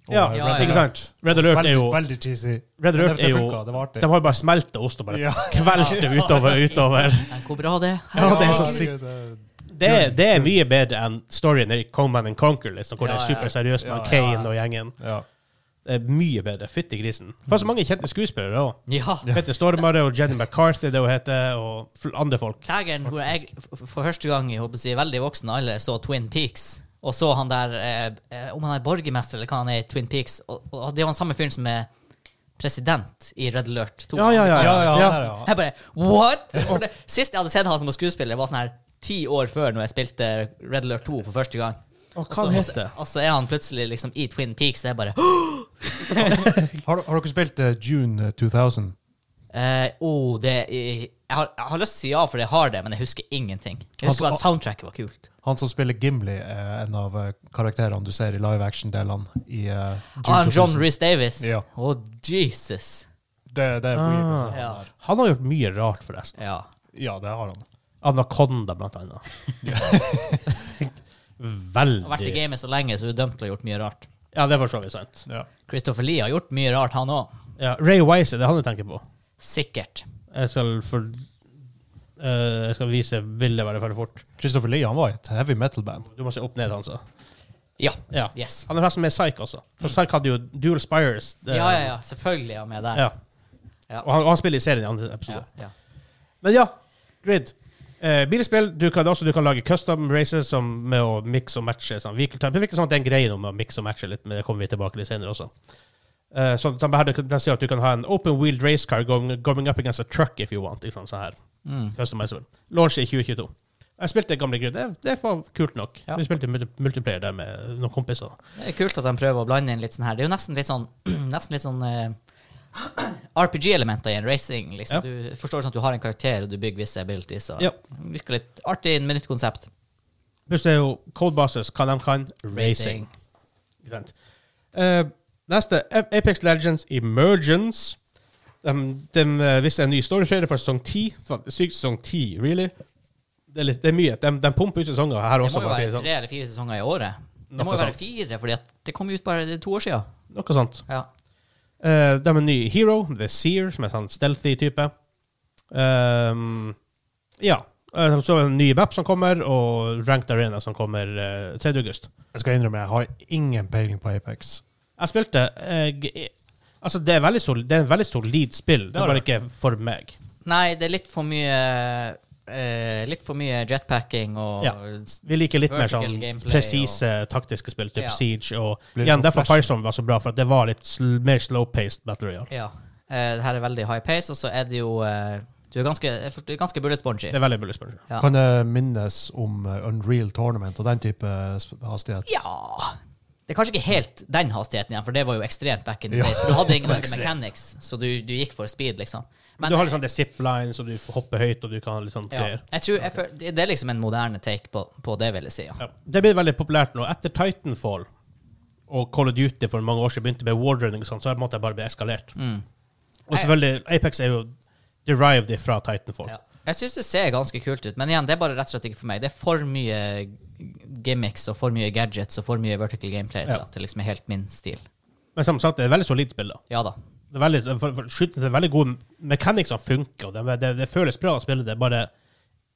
S3: Og,
S1: Ja,
S3: eh,
S2: ja,
S3: Red
S2: ja.
S1: ikke
S3: Alert.
S1: sant? Red Alert er jo
S3: Veldig, veldig cheesy.
S1: Red
S3: Men
S1: Alert
S3: det,
S1: er
S3: det
S1: jo
S3: funka, det
S1: De
S3: varte.
S1: har jo bare smelta ost og bare
S3: Ja.
S1: kvelt det utover og utover.
S2: Men hvor bra det er.
S1: Ja, det er så
S3: herregud,
S1: sykt.
S3: det-
S1: Det, det er mye bedre enn storyen i Coman and Conquer, liksom, hvor
S2: Ja,
S1: det er
S2: ja.
S1: superseriøst med
S3: Ja,
S2: ja.
S1: Kane og gjengen.
S3: Ja.
S1: Det er mye bedre. Fytti grisen. Det
S3: Mm.
S1: var så mange kjente skuespillere òg.
S2: Ja.
S1: Petter Stormare og Jenny McCarthy, det hun heter, og fl- andre folk.
S2: Dagen hvor jeg f- for første gang i håper jeg, å si, veldig voksen alder så Twin Peaks, og så han der eh, eh, Om han er borgermester eller hva han er i Twin Peaks Og, og det er jo han samme fyren som er president i Red Alert 2.
S1: Ja, ja, ja.
S3: Ja, ja, ja,
S1: Ja.
S3: ja.
S2: Jeg bare What?! For det, sist jeg hadde sett han som var skuespiller, var sånn her ti år før når jeg spilte Red Alert 2 for første gang.
S1: Og hva
S2: Og så-
S1: han heter
S2: Og så er han plutselig liksom i Twin Peaks. Det er bare
S3: Har, har dere spilt eh, June 2000?
S2: eh, oh, det er, jeg, har, jeg har lyst til å si ja, for jeg har det, men jeg husker ingenting. Jeg
S3: Altså,
S2: husker bare at soundtracket var kult.
S3: Han som spiller Gimli, er en av eh, karakterene du ser i live action-delene i eh,
S2: Ah, han
S3: June
S2: John
S3: 2000.
S2: Rhys Davis?
S3: Ja.
S2: Å, Jesus.
S3: Det, det er weird å se han
S2: Ja.
S3: der.
S1: Han har gjort mye rart, forresten.
S2: ja.
S3: ja, det har han.
S1: Anaconda, blant annet.
S2: Har vært i
S1: Veldig
S2: gamet så lenge, så du er dømt til å ha gjort mye rart.
S1: Ja, det er for så vidt sant.
S3: Ja.
S2: Christopher Lee har gjort mye rart, han òg.
S1: Ja, Ray Wise, det er han du tenker på.
S2: Sikkert.
S1: Jeg skal for eh, Jeg skal vise bildet veldig veldig fort.
S3: Christopher Lee han var i et heavy metal-band.
S1: Du må se opp ned, han sa.
S2: Ja.
S1: Ja.
S2: Yes.
S1: Han er forresten med i Psych også. For Psych hadde jo Dual Spires.
S2: Ja,
S1: det-
S2: Mm. ja, ja. Selvfølgelig er han med der.
S1: Ja.
S2: Ja.
S1: Og han, og han spiller i serien i andre episode.
S2: Ja, ja.
S1: Men ja, grid. Eh, bilspill, du kan, også, du kan lage custom races som med å mikse og matche. Sånn. Vehicle type. Det virker som at det er en greie nå med å mikse og matche litt, men det kommer vi tilbake litt senere også. Eh, så de, her, de sier at du kan ha en open wheeled race car going, going up against a truck if you want. Ikke sant, sånn her.
S2: Mm.
S1: Customizable. Launch i 2022. Jeg spilte gamle grid. Det, det var kult nok.
S2: Ja.
S1: Vi spilte multi- multiplayer der med noen kompiser.
S2: Det er kult at de prøver å blande inn litt sånn her. Det er jo nesten litt sånn, nesten litt sånn eh, RPG-elementer i en racing.
S1: Ja.
S2: Liksom. Du forstår sånn at du har en karakter, og du bygger visse abilities. Så.
S1: Ja.
S2: Virker litt artig med nytt konsept.
S1: Pluss det er jo Codebases, hva de kan. Racing. Ikke sant? Eh, neste, A- Apex Legends Emergence. De, de eh, viste en ny storytrailer for sesong 10. Fa- Sykt sesong 10, really? Det er, litt, det er mye. De, de pumper ut sesonger her
S2: Det
S1: også.
S2: må jo
S1: for å si
S2: være
S1: det sånn.
S2: tre eller fire sesonger i året. Det
S1: Noe
S2: må jo være
S1: sånt.
S2: fire, fordi at det kom ut bare to år siden.
S1: Noe sånt.
S2: Ja.
S1: Eh, de er en ny hero, The Seer, som er sånn stealthy type. Ehm, ja. Eh, Så er det en ny map som kommer, og Ranked Arena som kommer eh, 3. august.
S3: Jeg skal innrømme, jeg har ingen peiling på Apex.
S1: Jeg spilte eh, g- Altså, det er, veldig solid, det er en veldig solid spill, det er
S3: er
S1: bare ikke for meg.
S2: Nei, det er litt for mye eh, Litt for mye jetpacking og
S1: Ja. Vi liker litt mer
S2: Vertical
S1: sånn
S2: gameplay
S1: presise taktiske spill, typ
S2: Ja.
S1: Siege og
S3: Blir det
S1: Igjen,
S3: noe
S1: derfor
S3: flash?
S1: Firestone var så bra, for at det var litt sl mer slow-paced battle royale.
S2: Ja. Eh, det her er veldig high pace, og så er det jo eh, Du er ganske, jeg forstår- du er ganske bullet spongy.
S1: Det er veldig bullet sponge.
S2: Ja.
S3: Kan det minnes om eh, Unreal Tournament og den type eh, sp- hastighet?
S2: Ja Det er kanskje ikke helt den hastigheten igjen, for det var jo ekstremt back in the
S3: Ja.
S2: days. For du hadde ingen andre mechanics, så du, du gikk for speed, liksom. Men
S1: du har liksom det zip-lines, og du får hoppe høyt, og du kan liksom
S2: ja,
S1: greier.
S2: jeg tror, jeg, føl- det det er liksom en moderne take på, på det, vil jeg si. Ja.
S1: Ja. Det blir veldig populært nå. Etter Titanfall og Call of Duty for mange år siden begynte med wardrunning og sånn, så har
S2: Mm.
S1: måtte jeg bare bli eskalert. Og selvfølgelig, Apex er jo derived fra Titanfall.
S2: Ja. Jeg syns det ser ganske kult ut, men igjen, det er bare rett og slett ikke for meg. Det er for mye gimmicks og for mye gadgets og for mye vertical gameplay til
S1: Ja.
S2: at det liksom er helt min stil.
S1: Men som sagt, det er et veldig solid spill. da.
S2: Ja da.
S1: Det er veldig, for, for, skyting, det er veldig gode mechanics som funker. og Det, det, det føles bra å spille det, bare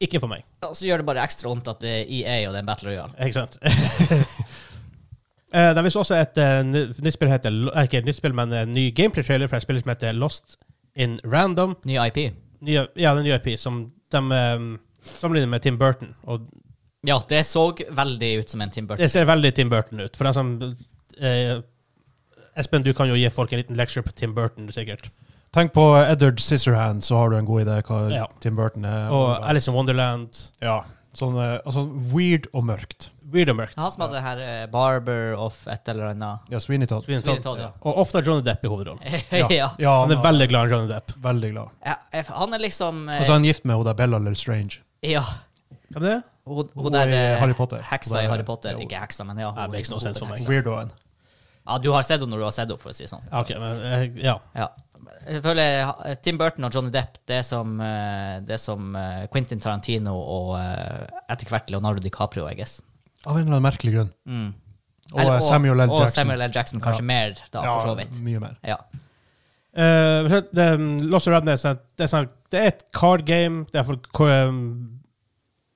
S1: ikke for meg.
S2: Og så gjør det bare ekstra vondt at det er EA og det er en Battle Royale.
S1: Ikke sant? Eh, Det viser også et eh, ny- nytt spill heter, eh, ikke et nytt spill, men en ny gameplay-trailer fra et spill som heter Lost in Random.
S2: Ny IP.
S1: Nye, ja, den nye IP E som de eh, sammenligner med Tim Burton. Og
S2: Ja, det så veldig ut som en Tim Burton.
S1: det ser veldig Tim Burton ut. For den som eh, Espen, du kan jo gi folk en liten lecture på Tim Burton, sikkert.
S3: Tenk på Eddard Scissorhands, så har du en god idé hva
S1: Ja.
S3: Tim Burton er.
S1: Og Alice in Wonderland.
S3: Ja. Sånn, eh, altså, weird og mørkt.
S1: Weird og mørkt.
S2: Han som hadde det her eh, Barber of et eller annet.
S3: Ja, Sweeney Todd.
S1: Sweeney
S2: Sweeney
S1: Todd.
S2: Todd, ja.
S1: Og ofte er Johnny Depp i hovedrollen.
S2: ja.
S3: ja
S1: Han er veldig glad i Johnny Depp.
S3: veldig glad.
S2: Ja, jeg- Han er liksom eh,
S3: Og så er Altså, han gift med hun der Bella Lestrange.
S2: Ja.
S1: Hvem er det?
S2: Hun, hun
S3: Hun
S2: der
S3: i
S2: eh,
S3: Harry Potter.
S2: heksa
S3: Hun
S2: i
S3: der-
S2: Harry Potter.
S3: ja, hun-
S2: Ikke heksa, men ja.
S1: Nei,
S2: hun-
S1: makes no sense for meg.
S3: Weirdoen.
S2: Ja, du har sett henne når du har sett henne, for å si det sånn.
S1: Ja, Ok, men eh, ja.
S2: Ja. Jeg føler eh, Tim Burton og Johnny Depp det er som, eh, det er som eh, Quentin Tarantino og eh, etter hvert Leonardo DiCaprio, I guess.
S3: Av en eller annen merkelig grunn.
S2: Mm.
S3: Og
S2: Eller-
S3: eh, Samuel L.
S2: og
S3: Jackson.
S2: Samuel L. Jackson kanskje
S3: Ja.
S2: mer, da, for så vidt.
S3: Ja, mye mer.
S2: Ja.
S1: Eh, men så- det, um, Lost and Radness er, det, er sånn, det er et card game. Det er for, ko- um,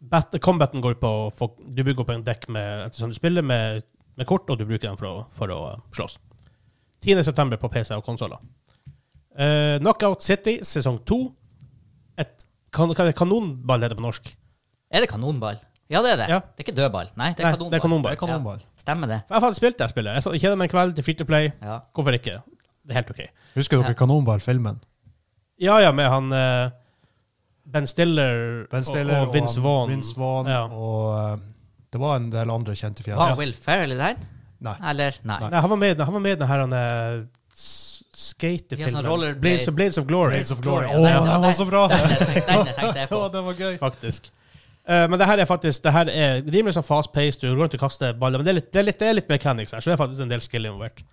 S1: bat, combaten går på å få- Du bygger opp en dekk med, ettersom du spiller med, med kort, og du bruker dem for å, for å uh, slåss. 10.9. på PC og konsoller. Eh, Knockout City sesong 2. Et kan, hva er det kanonball heter det på norsk.
S2: Er det kanonball? Ja, det er det.
S1: Ja.
S2: Det er ikke dødball. Nei, det er
S1: Nei,
S2: kanonball.
S1: det er kanonball.
S3: Det kan man bare.
S2: Stemmer det.
S1: Jeg har faktisk spilt det spillet. Jeg så- kjeder meg en kveld til Free to Play.
S2: Ja.
S1: Hvorfor ikke? Det er helt OK.
S3: Husker dere
S2: Ja.
S3: Kanonball-filmen?
S1: Ja, ja, med han eh, Ben Stiller,
S3: Ben Stiller
S1: og, og Vince
S3: han-
S1: Vaughn.
S3: Vince Vaughn
S1: Ja.
S3: Og eh, det var en del andre kjente fjes.
S2: Var Will Ferrell i den?
S3: Nei.
S2: Eller? Nei.
S1: Nei, han var med, han var med i den her han, eh, s- skatefilmen.
S2: Ja, sånn rollerblades.
S1: Blades, of- Blades of Glory,
S3: Blades of Glory.
S2: Glory,
S3: Å,
S2: ja, den-
S3: den var så bra!
S2: Den, den, den jeg tenkte jeg på.
S3: Å, den var gøy.
S1: faktisk. Eh, men det her er faktisk Det her er rimelig sånn fast-paced. Du går rundt og kaster baller. Men det er litt, det er litt, det er litt mechanics her, så det er faktisk en del skill involvert.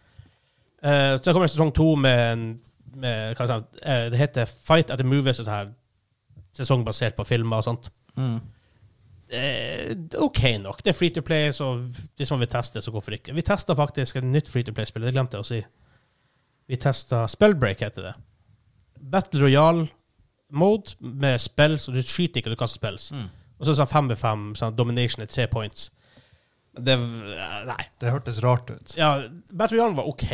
S1: Eh, så kommer sesong to med, en- med hva skal jeg si, eh, Det heter Fight at the Movies, en sånn her sesongbasert på filmer og sånt.
S2: Mm.
S1: eh, OK nok. Det er free to play, så hvis man vil teste, så hvorfor ikke? Vi testa faktisk et nytt free to play-spill, det glemte jeg å si. Vi testa Spellbreak, heter det. Battle Royale-mode med spill, så du skyter ikke, du kaster spills.
S2: Mm.
S1: Og så er det sånn fem ved fem, sånn domination er tre points. Det eh, Nei.
S3: Det hørtes rart ut.
S1: Ja, Battle Royale var OK.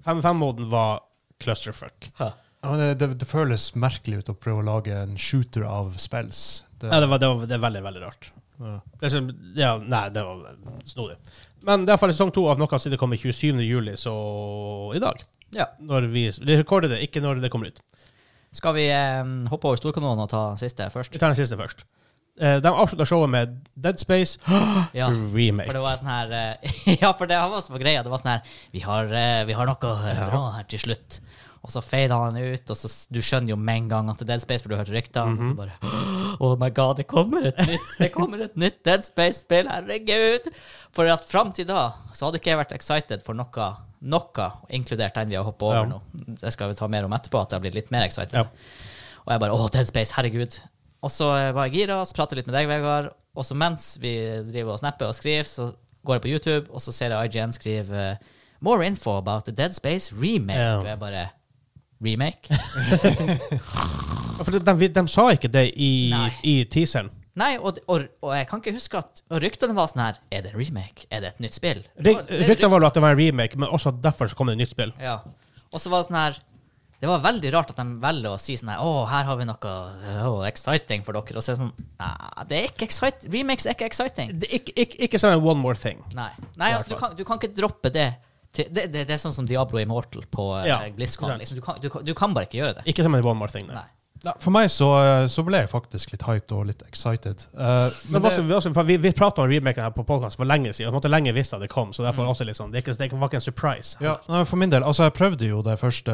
S1: Fem ved fem-moden var clusterfuck.
S3: Ja, men det, det, det føles merkelig ut å prøve å lage en shooter av spells. Det,
S1: Ja, det, var, det, var, det er veldig, veldig rart.
S3: ja.
S1: Liksom, ja, nei, det var snodig. Men det er iallfall sesong to av Knockout City kommer 27. juli, så i dag.
S2: Ja.
S1: Når vi vi rekorder det, ikke når det kommer ut.
S2: Skal vi eh, hoppe over storkanonen og ta siste
S1: Vi
S2: først?
S1: tar den siste først. Eh, De avslutta showet med Dead Space
S2: Ja. For
S1: remake.
S2: det var sånn her eh, Ja, for det var så greia. Det var sånn her Vi har, eh, vi har noe
S1: Ja.
S2: bra her til slutt. Og så fader han ut, og så s- du skjønner jo med en gang at det er Dead Space, for du har hørt rykter.
S1: Mhm.
S2: Og så bare Oh my god, det kommer et nytt Det kommer et nytt Dead Space-spill! Herregud! For at fram til da så hadde ikke jeg vært excited for noe, noe inkludert den vi har hoppa over
S1: Ja.
S2: nå. Det skal vi ta mer om etterpå, at jeg har blitt litt mer excited.
S1: Ja.
S2: Og jeg bare Å, Dead Space, herregud. Og så eh, var jeg gira, så pratet jeg litt med deg, Vegard. Og så mens vi driver og snapper og skriver, så går jeg på YouTube, og så ser jeg IGN skrive eh, More info about the Dead Space remake.
S1: Ja.
S2: Og jeg bare Remake?
S1: Ja, For de, de, de sa ikke det i,
S2: Nei.
S1: i teaseren.
S2: Nei, og, det- og, og jeg kan ikke huske at og ryktene var sånn her Er det en remake? Er det et nytt spill? Det var- det er
S1: Ryktene var jo at det var en remake, men også derfor så kom det et nytt spill.
S2: rykt- Ja. Og så var det sånn her Det var veldig rart at de velger å si sånn her Å, her har vi noe å, exciting for dere. Og så er det sånn Nei, det er ikke exciting. Remakes er ikke exciting.
S1: Det, ikke, ikke, ikke sånn en one more thing.
S2: Nei, Nei altså, du, kan, du kan ikke droppe det. Til, det, det. Det er sånn som Diablo Immortal på eh,
S1: Ja,
S2: BlizzCon.
S1: sant.
S2: Liksom. Du, kan, du, kan- du kan bare ikke gjøre det.
S1: Ikke som en one more thing. Nei.
S2: Nei.
S3: Nei, For meg så, så ble jeg faktisk litt hyped og litt excited. Eh,
S1: Men også, vi, også, for vi, vi pratet om remaken her på podkast for lenge siden, og på en måte lenge visste at det kom, så
S2: Mm.
S1: derfor også liksom, det, er ikke, det var ikke en surprise.
S3: ja, nei, for min del, altså jeg prøvde jo det første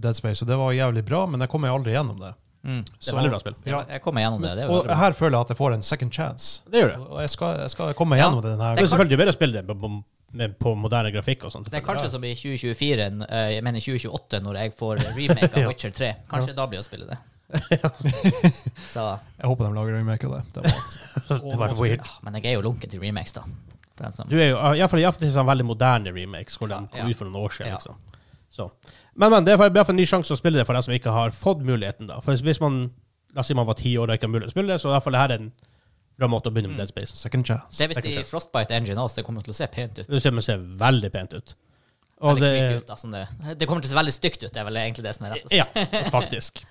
S3: Dead Space, og det var jævlig bra, men jeg kom meg aldri gjennom det.
S2: Mm.
S1: Det er veldig bra spill.
S2: Det var- Jeg kommer gjennom det. det var
S3: Og her føler jeg at jeg får en second chance.
S1: Det gjør det.
S3: Og jeg skal, jeg skal komme meg
S2: Ja.
S3: gjennom det denne
S1: Det er
S3: gangen.
S1: selvfølgelig bedre å spille det på, på, med- på moderne grafikk og sånn, sånt.
S2: det er kanskje som i 2024, eh, jeg mener 2028, når jeg får remake av Witcher 3. Kanskje da blir det å spille det. Så,
S3: Jeg håper de lager remake av det. det var,
S1: Det var weird.
S2: ja, men jeg er jo lunken til remakes, da. Det er sånn-
S1: Du er jo, i hvert fall, i hvert fall til sånn veldig moderne remakes, hvor de
S2: Ja,
S1: kom
S2: ja.
S1: ut for noen år siden.
S2: Ja.
S1: Liksom. Så. Men, men det er i hvert fall en ny sjanse å spille det for dem som ikke har fått muligheten. da. For hvis man, La oss si man var ti år og ikke har mulighet til å spille det, så er i hvert fall det her en bra måte å
S2: Mm.
S1: begynne med Dead Space.
S3: second chance.
S2: Det er visst i Frostbite Engine også, det kommer til å se pent ut.
S1: Det ser, men ser veldig pent ut.
S2: Eller
S1: Og det,
S2: creepy ut, altså. da, som det, det kommer til å se veldig stygt ut, det er vel egentlig det som er rettest.
S1: ja, faktisk.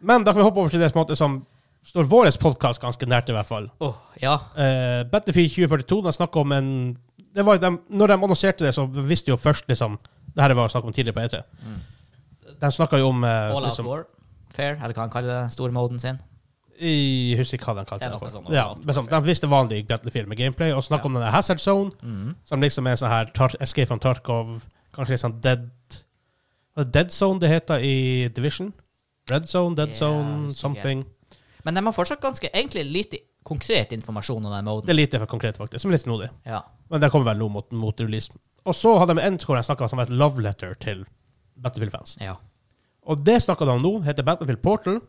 S1: Men da kan vi hoppe over til det som, måte som står vår podkast ganske nært, i hvert fall.
S2: Åh, ja.
S1: Eh, Battlefield 2042, de snakket om en det var, de, Når de annonserte det, så visste de jo først liksom, Det her var snakk om tidligere på ET. De snakka jo om eh,
S2: All Out
S1: liksom,
S2: Mm. War. Fair, eller hva han kaller det, stormoden sin.
S1: i, Jeg husker ikke hva de kalte
S2: Det er
S1: det.
S2: noe
S1: for.
S2: sånn,
S1: ja,
S2: All Out
S1: men sånn, de visste vanlig Battlefield med gameplay, og snakka
S2: Ja. Mm.
S1: om denne Hazard Zone, som liksom er sånn her tar, Escape from Tarkov, kanskje litt sånn Dead Dead Zone det heter i Division. Red Zone, Dead
S2: Ja,
S1: Zone,
S2: husker ikke
S1: something.
S2: Men de har fortsatt ganske egentlig lite konkret informasjon om
S1: Det
S2: den moden.
S1: er lite for konkret, faktisk. Som er litt snodig.
S2: Ja.
S1: Men det kommer vel nå mot, mot release. Og så hadde de en score jeg snakket om som var et love letter til Battlefield-fans.
S2: ja.
S1: Og det snakket de om nå, heter Battlefield Portal,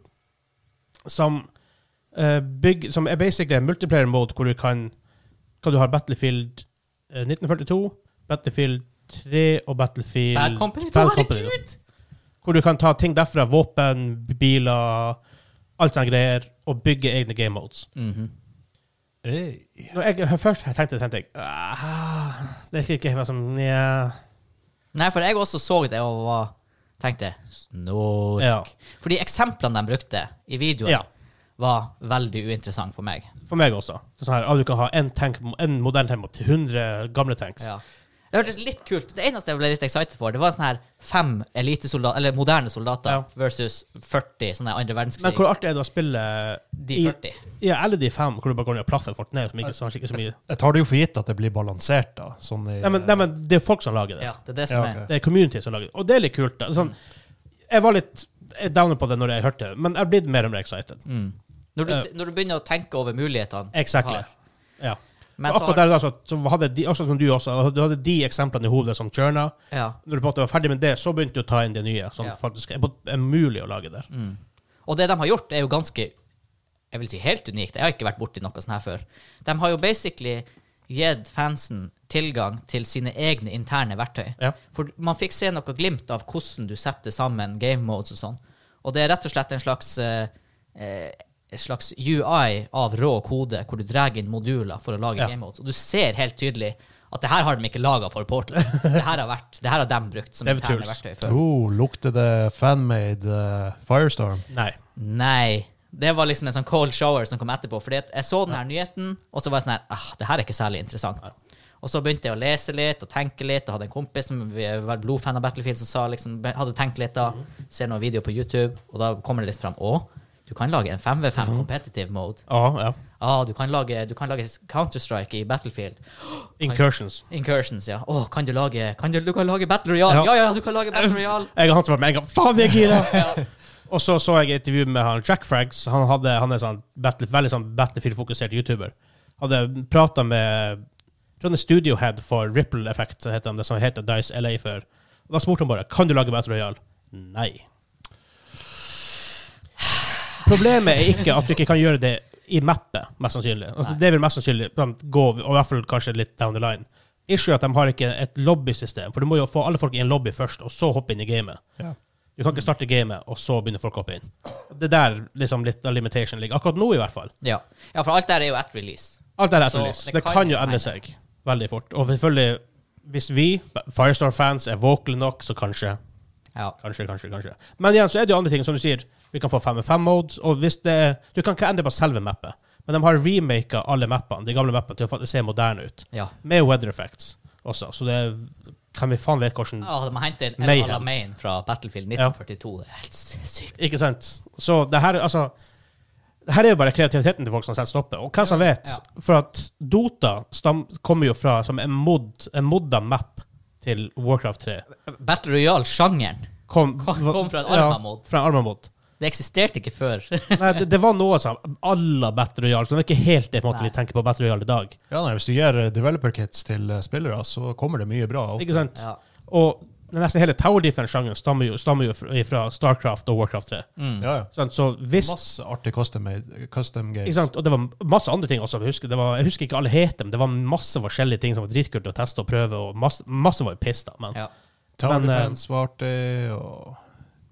S1: som, eh, bygg, som er basically en multiplayer mode hvor du kan, kan du ha Battlefield eh, 1942, Battlefield 3 og Battlefield
S2: Bad Company 2,
S1: Bad Company, ja.
S2: herregud!
S1: Hvor du kan ta ting derfra, våpen, biler, alt sånne greier, og bygge egne game modes.
S2: Mhm.
S3: Hey.
S1: Når jeg først tenkte, tenkte jeg, ah, det er ikke helt som, ja...
S2: Nei, for jeg også så det og var, tenkte snork.
S1: Ja.
S2: Fordi eksemplene de brukte i videoen,
S1: Ja.
S2: var veldig uinteressant for meg.
S1: For meg også. Det er sånn her, ah, du kan ha en, tank, en moderne tank til 100 gamle tanks.
S2: Ja. Det hørtes litt kult Det eneste jeg ble litt excited for, det var sånn her fem elitesoldater, eller moderne soldater,
S1: Ja.
S2: versus 40 sånne andre
S1: Men
S2: verdenskrig.
S1: hvor artig er det å spille
S2: de 40.
S1: I, ja, eller de fem, hvor du bare går ned og plaffer folk ned. Som ikke, som ikke så mye.
S3: Jeg tar det jo for gitt at det blir balansert, da. Sånn i,
S1: Nei, men, nei, men det er folk som lager det.
S2: Ja, det er det som
S3: Ja, ok.
S1: Det er community som lager det. Og det er litt kult. da. Sånn, jeg var litt downer på det når jeg hørte det, men jeg er blitt mer og mer excited.
S2: er mm. når, du,
S1: Ja.
S2: se- når du begynner å tenke over mulighetene
S1: Exactly. Ja.
S2: Men
S1: og
S2: så
S1: akkurat
S2: har,
S1: der da, så, så hadde de, også som du også, du hadde de eksemplene i hodet som churna.
S2: ja.
S1: Når du på en måte var ferdig med det, så begynte du å ta inn det nye, som
S2: Ja. Mm.
S1: faktisk er, er mulig å lage der.
S2: Og det de har gjort, er jo ganske Jeg vil si helt unikt. Jeg har ikke vært borti noe sånt her før. De har jo basically gitt fansen tilgang til sine egne interne verktøy.
S1: Ja.
S2: For man fikk se noe glimt av hvordan du setter sammen game modes og sånn. Og det er rett og slett en slags eh, eh, en slags UI av rå kode, hvor du drar inn moduler for å lage
S1: Ja.
S2: game modes. Og du ser helt tydelig at det her har de ikke laga for Portal. Det her har, vært, det her har de brukt som
S1: Dev
S2: interne
S1: tools.
S2: verktøy før.
S3: Oh, lukter det fanmade eh, Firestorm?
S1: Nei.
S2: Nei. Det var liksom en sånn cold shower som kom etterpå. Fordi at jeg så den her nyheten, og så var jeg sånn her ah, Det her er ikke særlig interessant. Og så begynte jeg å lese litt og tenke litt, og hadde en kompis som var blodfan av Battlefield, som sa liksom, hadde tenkt
S1: Mhm.
S2: litt da, ser noen videoer på YouTube, og da kommer det liksom fram Å, du kan lage en 5v5
S1: Mhm.
S2: competitive mode.
S1: Ja, ja.
S2: Ah, du kan lage, du kan lage Counter-Strike i Battlefield.
S1: Incursions.
S2: Incursions, ja. Å, kan du lage kan du, du kan lage Battle Royale? Ja. ja, ja, du kan lage Battle Royale.
S1: Jeg og han som var med en gang Faen, jeg gir det! Og så så jeg et intervju med han Jack Frags. Han, hadde, han er sånn battle, veldig sånn Battlefield-fokusert YouTuber. Hadde prata med jeg tror han er studiohead for Ripple Effect, så heter han det som heter Dice LA før. Og da spurte han bare Kan du lage Battle Royale. Nei. Problemet er ikke at du ikke kan gjøre det i mappet, mest sannsynlig. Altså,
S2: Nei.
S1: det vil mest sannsynlig blant, gå, og i hvert fall kanskje litt down the line. Issue er at de har ikke et lobbysystem, for du må jo få alle folk i en lobby først, og så hoppe inn i gamet.
S3: Ja.
S1: Du kan ikke starte gamet, og så begynner folk å hoppe inn. Det er der liksom litt av limitation ligger. Akkurat nå, i hvert fall.
S2: Ja. ja, for alt der er jo at release.
S1: Alt er
S2: Så
S1: etterlyst.
S2: det
S1: Det
S2: kan
S1: kan jo
S2: jo
S1: ende seg veldig fort. Og selvfølgelig, hvis vi, Firestar-fans, er våkne nok, så kanskje.
S2: Ja.
S1: Kanskje, kanskje, kanskje. Men igjen så er det jo andre ting, som du sier. Vi kan få 5-5-mode, og hvis det Du kan ikke endre på selve mappet, men de har remaka alle mappene, de gamle mappene, til å faktisk se moderne ut.
S2: ja.
S1: Med weather effects også, så det er- kan vi faen vite hvordan
S2: Ja, de har hentet en
S1: Mayhem.
S2: El Alamein fra Battlefield 1942. Det er helt sykt.
S1: Ikke sant? Så det her, altså det her er jo bare kreativiteten til folk som setter stoppet. Og hva som vet,
S2: Ja.
S1: for at Dota stam, kommer jo fra som en mod, en modda map til Warcraft 3.
S2: Battle Royale-sjangeren.
S1: Kom,
S2: Kom-
S1: va-
S2: kom fra en
S1: Ja,
S2: Arma-mod.
S1: fra en Arma-mod.
S2: Det eksisterte ikke før.
S1: Nei, det, det var noe som alla Battle Royale, så det var ikke helt det på en måte
S2: Nei.
S1: vi tenker på Battle Royale i dag.
S3: Ja, nei, Hvis du gir eh, developer kits til eh, spillere, så kommer det mye bra.
S1: Ikke sant?
S2: ja.
S1: Og nesten hele Tower Defense-sjangeren stammer jo, stammer jo fra- fra Starcraft og Warcraft 3.
S2: Mm.
S3: Ja, ja.
S1: Sant? Så hvis
S3: Masse artig custom, custom games.
S1: ikke sant? Og det var masse andre ting også. Jeg husker, det var, jeg husker ikke alle het, men det var masse forskjellige ting som var dritkult å teste og prøve, og masse, masse var jo piss, da. Men
S2: Ja.
S3: Tower
S1: Men, eh,
S3: Defense var artig, og sånn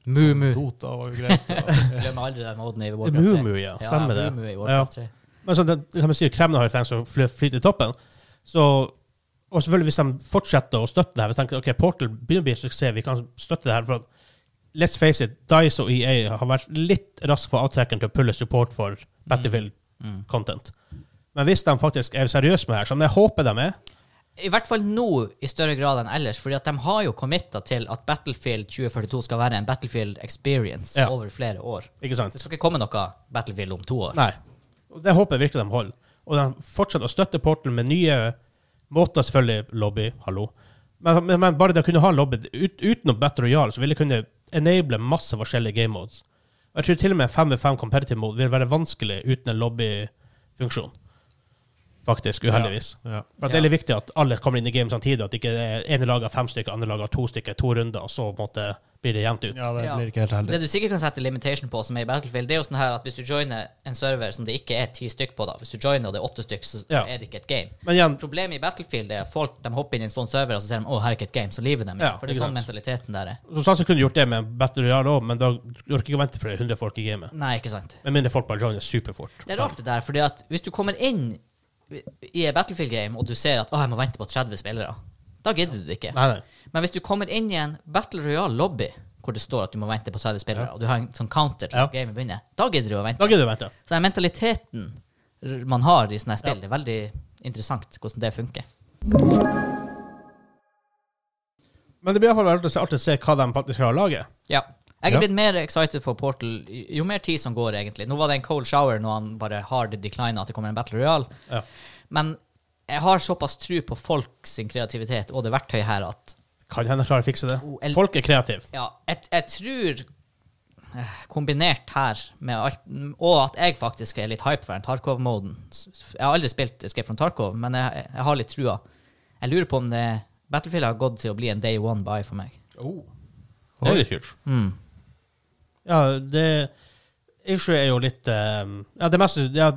S2: Mumu.
S3: Dota var jo greit. Og,
S2: Glemmer aldri den moden i Warcraft 3.
S1: Mumu, ja. Stemmer
S2: ja,
S1: det.
S2: Mumu i Warcraft 3.
S1: Men sånn, det- kan man si, kremene har jo tenkt å fly- flyte i toppen. Så, og selvfølgelig hvis de fortsetter å støtte det her, hvis de tenker ok, Portal begynner å bli en suksess, vi kan støtte det her. for at, Let's face it, Dice og EA har vært litt raske på avtrekkeren til å pulle support for Battlefield-content.
S2: Mm.
S1: Men hvis de faktisk er seriøse med det her, som jeg håper de er
S2: I hvert fall nå i større grad enn ellers, fordi at de har jo committa til at Battlefield 2042 skal være en Battlefield experience
S1: Ja.
S2: over flere år.
S1: ikke
S2: Det
S1: sant?
S2: skal ikke komme noe Battlefield om to år.
S1: Nei. Og det håper jeg virkelig de holder. Og de fortsetter å støtte Portal med nye måter, selvfølgelig. Lobby, hallo. Men, men, men bare det å kunne ha lobby ut, utenom Battle Royale, så vil det kunne enable masse forskjellige game modes. Og jeg tror til og med 5 v 5 competitive mode vil være vanskelig uten en lobbyfunksjon. Faktisk, uheldigvis.
S3: ja.
S1: For at Det er litt viktig at alle kommer inn i game samtidig, at ikke det er ene laget har fem stykker, andre laget har to stykker, to runder, og så på en måte blir det jevnt ut.
S3: ja, det
S2: Ja.
S3: blir ikke helt heldig.
S2: Det du sikkert kan sette limitation på, som er i Battlefield, det er jo sånn her at hvis du joiner en server som det ikke er ti stykk på, da, hvis du joiner og det er åtte stykk, så, så
S1: Ja.
S2: er det ikke et game.
S1: Men igjen,
S2: Problemet i Battlefield er at folk de hopper inn i en sånn server og så ser de, å, her er ikke et game, så liver de. ikke.
S1: Ja,
S2: for det er
S1: ikke
S2: sånn
S1: sant.
S2: mentaliteten der er.
S1: Som sagt, så kunne du gjort det med Battle Royale òg, men da orker ikke å vente for det er 100 folk i gamet.
S2: Nei, ikke sant.
S1: Med mindre folk bare joiner superfort.
S2: Det er rart det der, fordi at hvis du kommer inn i et Battlefield-game og du ser at å, jeg må vente på 30 spillere, da gidder du det ikke.
S1: Nei, nei.
S2: Men hvis du kommer inn i en Battle Royale-lobby hvor det står at du må vente på 30 spillere, og du har en sånn counter til
S1: Ja.
S2: at gamet begynner, da gidder du å vente.
S1: Da gidder du å vente.
S2: Så den mentaliteten r- man har i sånne her spill, det er veldig interessant hvordan det funker.
S1: Men det blir iallfall artig å se- artig å se hva de faktisk klarer å lage.
S2: Ja. Jeg
S3: Ja.
S2: er blitt mer excited for Portal j- jo mer tid som går, egentlig. Nå var det en cold shower når han bare hard declina at det kommer en Battle Royale.
S1: Ja.
S2: Men jeg har såpass tru på folk sin kreativitet og det verktøyet her at
S1: Kan hende klarer å fikse det.
S2: Oh, el-
S1: Folk er kreative.
S2: ja, jeg, jeg tror eh, kombinert her med alt Og at jeg faktisk er litt hype for den Tarkov-moden. S- Jeg har aldri spilt Escape from Tarkov, men jeg, jeg har litt trua. Jeg lurer på om det Battlefield har gått til å bli en day one buy for meg.
S1: Det er litt kult.
S2: Mm.
S1: Ja, det Issue er jo litt ehm, Ja, det meste ja,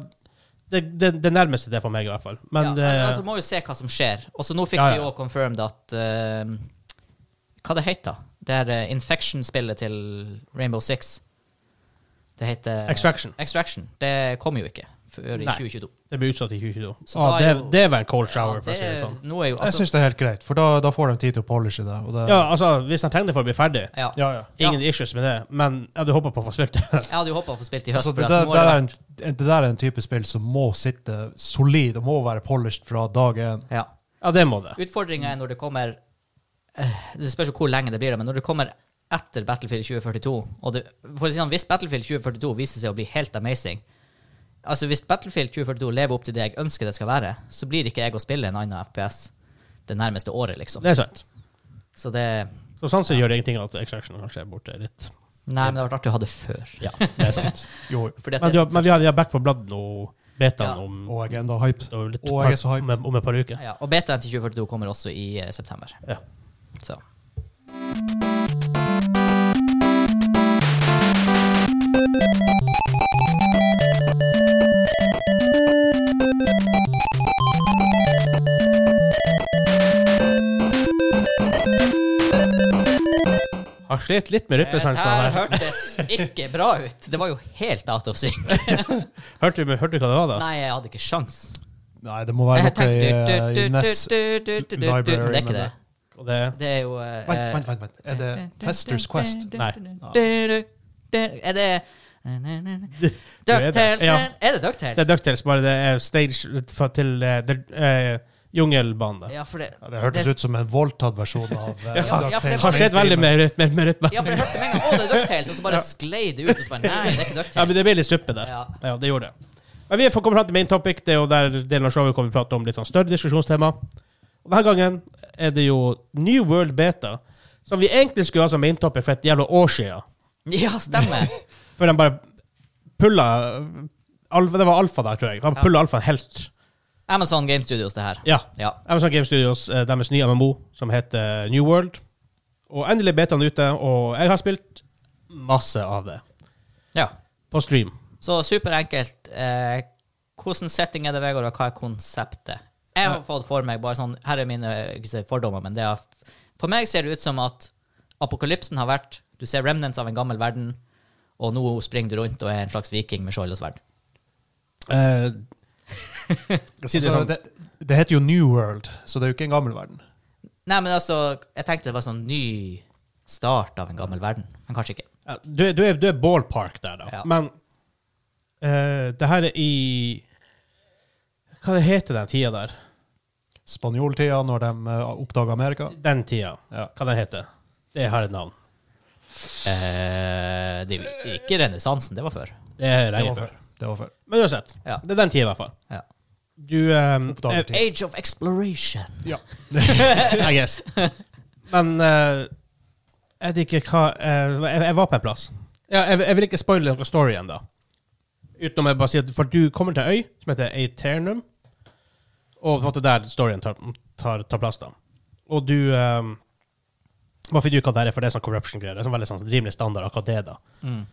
S1: det, det, det nærmeste det er for meg, i hvert fall. Men
S2: ja,
S1: det
S2: men altså, må jo se hva som skjer. Og så nå fikk
S1: Ja, ja.
S2: vi jo confirmed at eh, Hva det heter det? er eh, Infection-spillet til Rainbow Six. Det heter
S1: Extraction.
S2: Extraction. Det kom jo ikke før i
S1: Nei.
S2: 2022.
S1: Det blir utsatt i 2022.
S2: Så
S1: Ah,
S2: da
S1: det,
S2: er jo-
S1: det var en cold shower,
S2: Ja,
S1: for å si det
S2: er-
S1: sånn.
S2: Nå er jo
S3: Jeg
S2: altså
S3: syns det er helt greit, for da, da får de tid til å polishe det. Og det
S1: Ja, altså, hvis de trenger det for å bli ferdig,
S2: ja.
S3: ja, ja.
S1: ingen issues med det, men jeg hadde håpa på å få spilt det.
S2: Jeg hadde jo håpa å få spilt i høst.
S3: Altså,
S2: for
S3: det,
S2: at
S3: der,
S2: nå
S3: der
S2: har
S3: er
S2: det
S3: en, det der er en type spill som må sitte solid og må være polished fra dag én.
S2: vært- ja.
S1: Ja, det må det.
S2: Utfordringa er når det kommer eh, Det spørs jo hvor lenge det blir, men når det kommer etter Battlefield 2042 og det, for å si sånn, Hvis Battlefield 2042 viser seg å bli helt amazing Altså Hvis Battlefield 2042 lever opp til det jeg ønsker det skal være, så blir ikke jeg å spille en annen FPS det nærmeste året, liksom.
S1: Det er sant.
S2: Så det
S1: Så sånn sett gjør det ingenting at Extraction kanskje er borte litt.
S2: Nei, men det har vært artig å ha det før.
S1: Ja, det er sant.
S3: Jo,
S2: Fordi at
S1: men,
S2: det
S1: du,
S2: er altså.
S1: har- men vi har, vi har Back for Blood nå, betaen
S2: Ja.
S1: om,
S3: og jeg er enda hyped.
S1: og litt,
S3: og jeg er så hyped.
S1: om, om et par uker.
S2: Ja, og betaen til 2042 kommer også i eh, september.
S1: Ja.
S2: Så.
S1: Har slitt litt med
S2: Det
S1: rytmesansen
S2: Eh, her
S1: her.
S2: hørtes ikke bra ut. Det var jo helt out of sync.
S1: Hørte du, hørte du hva det var, da?
S2: Nei, jeg hadde ikke sjans.
S3: Nei, det må være
S2: Jeg
S3: noe i,
S2: tenkte du-
S3: eh, i
S2: du-
S3: NES.
S2: du- du- du- du- du-
S3: library,
S2: du- Men det er
S3: men
S2: ikke det.
S3: det-
S1: Og det,
S2: Det er jo eh,
S3: Vent, vent, vent, vent. Er det Fester's Quest?
S1: Nei.
S2: Er det
S1: er det.
S2: Ducktails?
S1: Ja.
S2: Er det Ducktails?
S1: det er Ducktails, bare det er stage fra- til eh, det, eh, jungelbane.
S2: Ja, for det
S3: Ja, det hørtes ut som en voldtatt versjon av eh,
S2: Ja, ja, for det
S1: Har slitt veldig med, rytme- med, med rytme.
S2: Ja, for jeg hørte med en gang Å, det er Ducktails, og så bare sklei det ut. Og så bare Nei, det er ikke
S1: Ja, men det
S2: Ducktails.
S1: ble litt suppe der.
S2: Ja.
S1: Ja, det gjorde det. Men vi får komme fram til main topic, det er jo der delen av showet kommer vi prate om litt sånn større diskusjonstema. Og denne gangen er det jo New World Beta, som vi egentlig skulle ha som main topic for et jævla år siden.
S2: Ja, stemmer.
S1: Før de bare pulla alfa, Det var alfa der, tror jeg. De pulla alfa helt.
S2: Amazon Game Studios, det her.
S1: Ja.
S2: Ja.
S1: Amazon Game Studios, eh, deres nye MMO, som heter New eh, World. Og endelig betaen er ute, og jeg har spilt masse av det.
S2: Ja.
S1: På stream.
S2: Så superenkelt. Eh, hvordan setting er det, Vegard, og hva er konseptet? Jeg har fått for meg bare sånn, her er mine ikke si fordommer, men det er, for meg ser det ut som at apokalypsen har vært, du ser remnants av en gammel verden, og nå springer du rundt og er en slags viking med skjold og sverd.
S1: Eh, jeg sier det
S3: Altså,
S1: sånn.
S3: det, det heter jo New World, så det er jo ikke en gammel verden.
S2: Nei, men altså, jeg tenkte det var sånn ny start av en gammel verden, men kanskje ikke.
S1: Ja, Du, er- du, er, du er ballpark der, da.
S2: Ja.
S1: Men eh, det her er i Hva det heter den tida der?
S3: Spanjoltida, når de uh, oppdaga Amerika.
S1: Den tida.
S3: Ja.
S1: Hva den heter Det har et navn.
S2: Eh, det er jo ikke renessansen, det var før.
S1: Det er
S3: Det
S1: lenge
S3: var
S1: før.
S3: før. Det var før.
S1: Men uansett.
S2: Ja.
S1: Det er den tida, i hvert fall.
S2: Ja.
S1: Du um,
S3: Oppdager ting.
S2: Age of Exploration.
S3: Ja.
S1: I guess. Men eh, jeg vet ikke hva eh, jeg, jeg var på en plass. Ja, jeg, jeg vil ikke spoile noen story ennå. Utenom jeg bare sier at For du kommer til ei øy som heter Aeternum. Og på en måte der storyen tar, tar, tar plass, da. Og du um, Man finner ut hva det er, for det er sånn corruption-greier. Det er sånn veldig sånn rimelig standard akkurat det, da.
S2: Mm.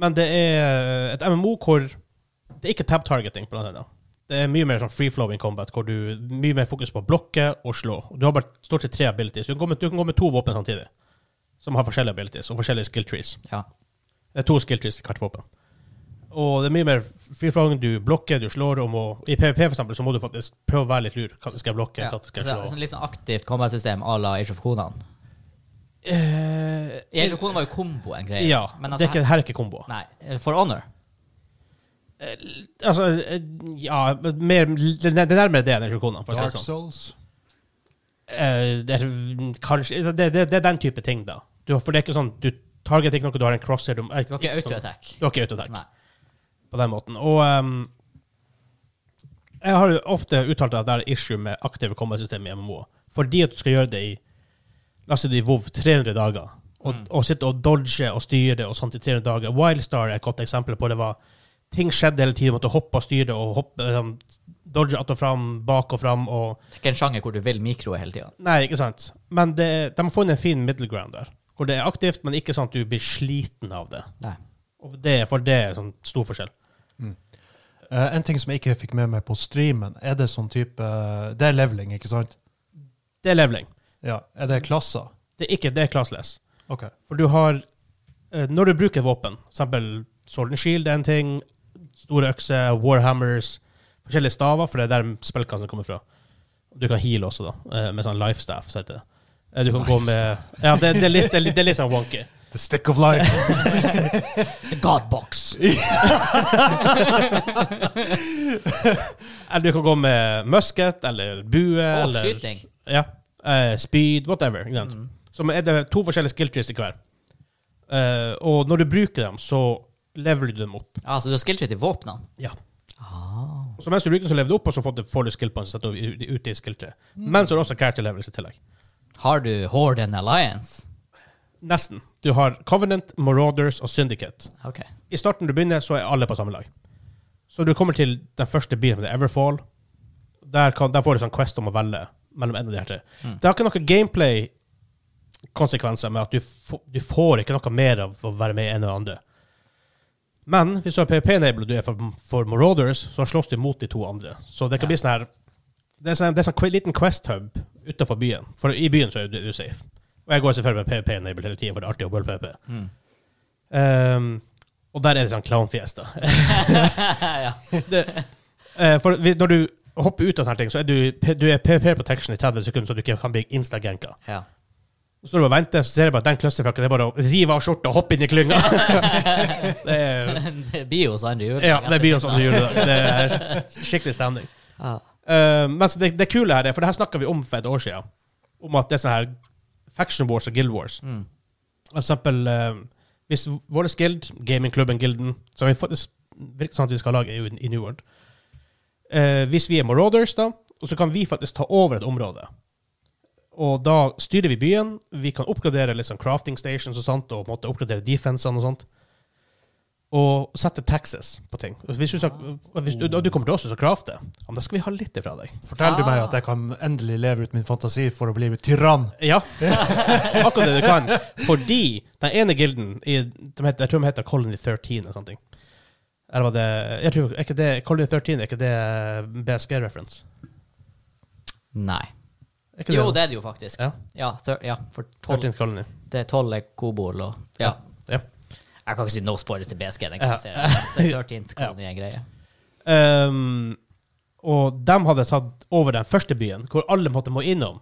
S1: Men det er eh, et MMO hvor det er ikke tab targeting, blant annet. Det er mye mer sånn free-flowing combat, hvor du mye mer fokus på å blokke og slå. Du har bare stort sett tre abilities. Du kan gå med, du kan gå med to våpen samtidig, som har forskjellige abilities og forskjellige skill trees.
S2: Ja.
S1: Det er to skill trees til hvert våpen. Og det er mye mer free-flowing. Du blokker, du slår om å I PVP, for eksempel, så må du faktisk prøve å være litt lur. Hva skal jeg blokke?
S2: Ja.
S1: Hva skal
S2: Så det er
S1: jeg
S2: sånn
S1: slå?
S2: litt sånn aktivt combat-system à la Age of Conan.
S1: Eh,
S2: Age of Conan var jo kombo en greie.
S1: ja.
S2: men
S1: det
S2: altså,
S1: er ikke, her er ikke kombo.
S2: her, nei, For Honor.
S1: Altså, eh, ja mer, Det det er nærmere det enn Ejokona, for å si det
S3: Dark
S1: sånn.
S3: Souls.
S1: Eh, det er kanskje altså, det, det, det er den type ting, da. Du, for det er ikke sånn du targeter ikke noe, du har en crosser Du, sånn.
S2: Det var ikke autoattack.
S1: Du har ikke autoattack
S2: Nei.
S1: på den måten. Og ehm, jeg har jo ofte uttalt at det er issue med aktive combat-system i MMO. Fordi at du skal gjøre det i La oss si det i WoW 300 dager. Og,
S2: Mm.
S1: og sitte og dodge og styre og sånt i 300 dager. Wildstar er et godt eksempel på det. var Ting skjedde hele tiden. Du måtte hoppe og styre og hoppe, liksom, dodge att og fram, bak og fram. og
S2: Det er ikke en sjanger hvor du vil mikro hele tida.
S1: Nei, ikke sant. Men det, de har funnet en fin middle ground der. Hvor det er aktivt, men ikke sånn at du blir sliten av det. Og det, for det er sånn stor forskjell.
S3: Eh, en ting som jeg ikke fikk med meg på streamen, er det sånn type Det er leveling, ikke sant?
S1: Det er leveling.
S3: Ja. Er det klasser?
S1: Det er ikke det er classless.
S3: OK.
S1: For du har eh, Når du bruker våpen, f.eks. Sword and Shield er en ting, store økser, warhammers, forskjellige staver, for det er der spillkassen kommer fra. Du kan heale også, da, eh, med sånn lifestaff. Så heter det. Eh, Du kan gå med Ja, det, det, er litt, det, er litt- det er litt sånn wonky.
S3: The stick of life.
S2: Godbox.
S1: Eller du kan gå med musket eller bue.
S2: Og
S1: eller,
S2: skyting. Mm.
S1: Ja. Eh, speed, whatever. Ikke sant? Så er det to forskjellige skill trees i hver. Eh, og når du bruker dem, så leveler du dem opp.
S2: Ja, så du har skilltree til våpnene.
S1: Ja.
S2: Ah.
S1: Så mens du bruker dem, så lever du opp, og så får du- får du skill points og setter du ut i skill tree.
S2: Mm.
S1: Men så er det også character levels i tillegg.
S2: Har du Horde and Alliance?
S1: Nesten. Du har Covenant, Marauders og Syndicate.
S2: OK.
S1: I starten du begynner, så er alle på samme lag. Så du kommer til den første byen, med Everfall. Der, kan, der får du sånn quest om å velge mellom en av de her tre. Det har ikke noen gameplay-konsekvenser med at du, få, du får ikke noe mer av å være med i en eller andre. Men hvis du har PVP-enable og du er for, for Marauders, så slåss du mot de to andre. Så det kan bli sånn her Det er sånn, det er sånn que- liten quest-hub utenfor byen. For i byen så er du, du er safe. Og jeg går selvfølgelig med PVP-enable hele tiden, for det er artig å bølle PVP. Ehm, og der er det sånn clownfjes, da.
S2: ja.
S1: Det, eh, for vi- når du hopper ut av sånne ting, så er du, du er PVP protection i 30 sekunder, så du ikke kan bli insta-genka.
S2: ja.
S1: Så står du og venter, så ser du bare at den clusterfrakken. Det er bare å rive av skjorta og hoppe inn i klynga. det er,
S2: det blir jo sånn det gjør.
S1: ja, det blir jo sånn du gjør det. Det er skikkelig stemning.
S2: Ja.
S1: Eh, men så det, det kule her er, for det her snakka vi om for et år siden, om at det er sånne her Faction Wars og Guild Wars.
S2: Mm.
S1: For eksempel eh, hvis vår guild, gamingklubben Gilden, som vi faktisk virker sånn at vi skal lage i, i New World eh, Hvis vi er Marauders, da, og så kan vi faktisk ta over et område. Og da styrer vi byen. Vi kan oppgradere liksom crafting stations og sånt, og på en måte oppgradere defensene og sånt. og sette taxes på ting. Og Hvis du, snakker- hvis du, og du kommer til oss og skal crafte, ja, men da skal vi ha litt fra deg.
S3: Fortell du meg
S2: Ah.
S3: at jeg kan endelig leve ut min fantasi for å bli tyrann?
S1: Ja, akkurat det du kan. Fordi den ene gilden, i, de heter, jeg tror de heter Colony 13 eller sånne ting. Eller var det, jeg tror, er ikke det Colony 13 er ikke det eh, BSG-reference?
S2: Nei.
S1: Er ikke
S2: Jo, det er det jo faktisk.
S1: Ja.
S2: Ja, thir- ja for 12,
S1: 13 Colony.
S2: det er tolv er Kobol og ja.
S1: Ja.
S2: Jeg kan ikke si no spoilers til BSG. Den kan
S1: Ja.
S2: jeg se. Det er 13 kan jeg greie.
S1: Ehm, og de hadde satt over den første byen, hvor alle måtte må innom.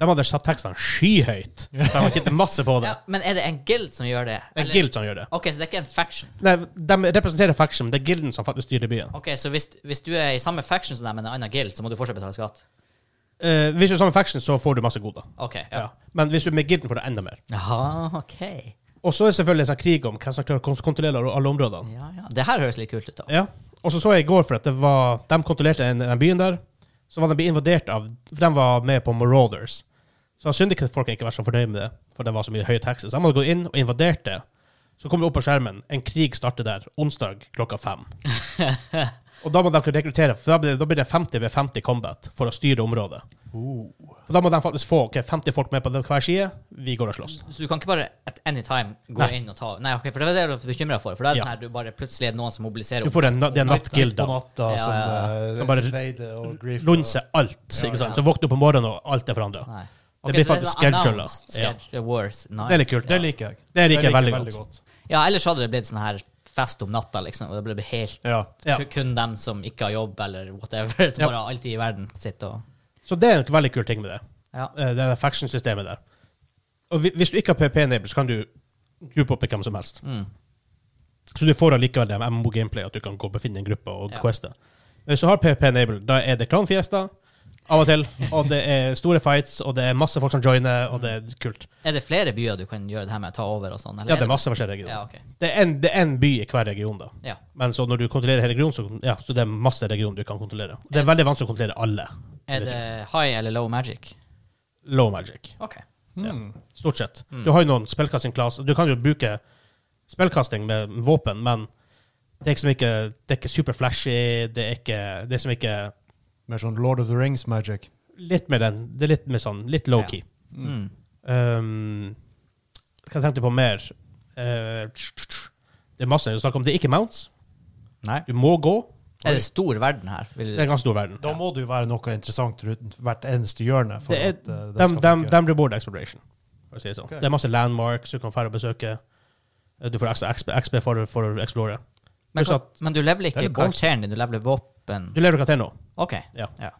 S1: De hadde satt tekstene skyhøyt. De hadde tjent masse på det.
S2: Ja, men er det en guild som gjør det?
S1: Det er
S2: Eller-
S1: guild som gjør det.
S2: Ok, så det er ikke en faction.
S1: Nei, de representerer faction, men det er gilden som faktisk styrer byen.
S2: Ok, Så hvis, hvis du er i samme faction som dem, men en annen guild, så må du fortsatt betale skatt?
S1: Eh, hvis du er sammen med faction, så får du masse goder.
S2: Ok, ja.
S1: Ja. Men hvis du er med gilden, får du enda mer.
S2: Jaha, ok.
S1: Og så er det selvfølgelig en sånn krig om hvem som klarer å kont- kontrollere alle områdene.
S2: Ja, ja. Det her høres litt kult ut, da.
S1: Ja. Og så så jeg i går, for at det var, de kontrollerte en, den byen der. Så var de blitt invadert av For de var med på Marauders. Så Syndicate-folk har ikke vært så fornøyd med det, for det var så mye høye taxes. De hadde gått inn og invadert det. Så kom det opp på skjermen en krig starter der, onsdag klokka fem. og da må de kunne rekruttere, for da blir, da blir det 50 ved 50 combat for å styre området. For da må de faktisk få ok, 50 folk med på hver side. Vi går og slåss.
S2: Så du kan ikke bare at any time gå
S1: Nei.
S2: inn og ta Nei, ok, for det var det jeg var bekymra for. For det er
S1: Ja.
S2: sånn her du bare plutselig er det noen som mobiliserer
S1: Du får en, na- det er
S3: På
S1: nattgilda.
S3: natta
S2: Ja,
S3: som,
S2: ja,
S3: eh,
S1: Som bare
S3: invade og grief.
S1: Lunse alt. ikke sant? Så våkner du opp om morgenen, og alt er forandra.
S2: Nei.
S1: Det
S2: Ok,
S1: blir
S2: så
S1: faktisk
S2: sånn
S1: schedulet.
S2: announced Schedule wars. Nice.
S1: Det er litt kult.
S3: Det liker jeg.
S1: Det liker jeg veldig godt.
S2: Ja, ellers hadde det blitt sånn her fest om natta, liksom. Og det ble helt
S3: Ja.
S1: Ja.
S2: kun- kun dem som ikke har jobb, eller whatever, som
S1: Ja.
S2: bare alltid i verden sitter og
S1: Så det er en veldig kul ting med det.
S2: Ja.
S1: Eh, Det er faction-systemet der. Og hvi- hvis du ikke har PP-neighbor, så kan du gruppe opp i hvem som helst. Så du får allikevel det med MMO-gameplay, at du kan gå og befinne en gruppe og
S2: Ja.
S1: queste. Men Hvis du har PP-neighbor, da er det klanfiesta av og til, og det er store fights, og det er masse folk som joiner, og det er kult.
S2: Er det flere byer du kan gjøre det her med å ta over og sånn? eller
S1: Ja, det er
S2: det-
S1: masse forskjellige regioner.
S2: Ja, ok.
S1: Det er en- det er én by i hver region, da.
S2: Ja.
S1: Men så når du kontrollerer hele regionen, så, ja, så det er masse regioner du kan kontrollere. Det er veldig vanskelig å kontrollere alle.
S2: Er det high eller low magic?
S1: Low magic.
S2: OK.
S1: Ja. Stort sett.
S2: Hmm.
S1: Du har jo noen spillkastingklass. Du kan jo bruke spillkasting med våpen, men det er liksom ikke, det er ikke super flashy. Det er ikke Det er som ikke
S3: Mer sånn Lord of the Rings magic.
S1: Litt mer den Det er litt mer sånn Litt low
S2: Ja.
S1: key.
S2: Mm.
S1: Um, hva tenkte jeg på mer? Eh, det er masse å snakke om. Det er ikke mounts.
S2: Nei.
S1: Du må gå.
S2: Er det stor verden her? Vil
S1: Det er en ganske stor verden.
S3: Da må det jo være noe interessant rundt hvert eneste hjørne. For
S1: Det er,
S3: at, eh, det
S1: de,
S3: skal
S1: de,
S3: funke.
S1: de blir bored exploration, for å si det sånn.
S3: Ok.
S1: Det er masse landmarks du kan dra og besøke. Eh, Du får ekstra XP, XP for, for å explore.
S2: men,
S1: Pluss at
S2: men du leveler
S3: Det er
S2: ikke
S3: litt
S2: karakteren din, du leveler våpen
S1: du lever karakter nå.
S2: OK.
S1: Ja.
S2: Ja.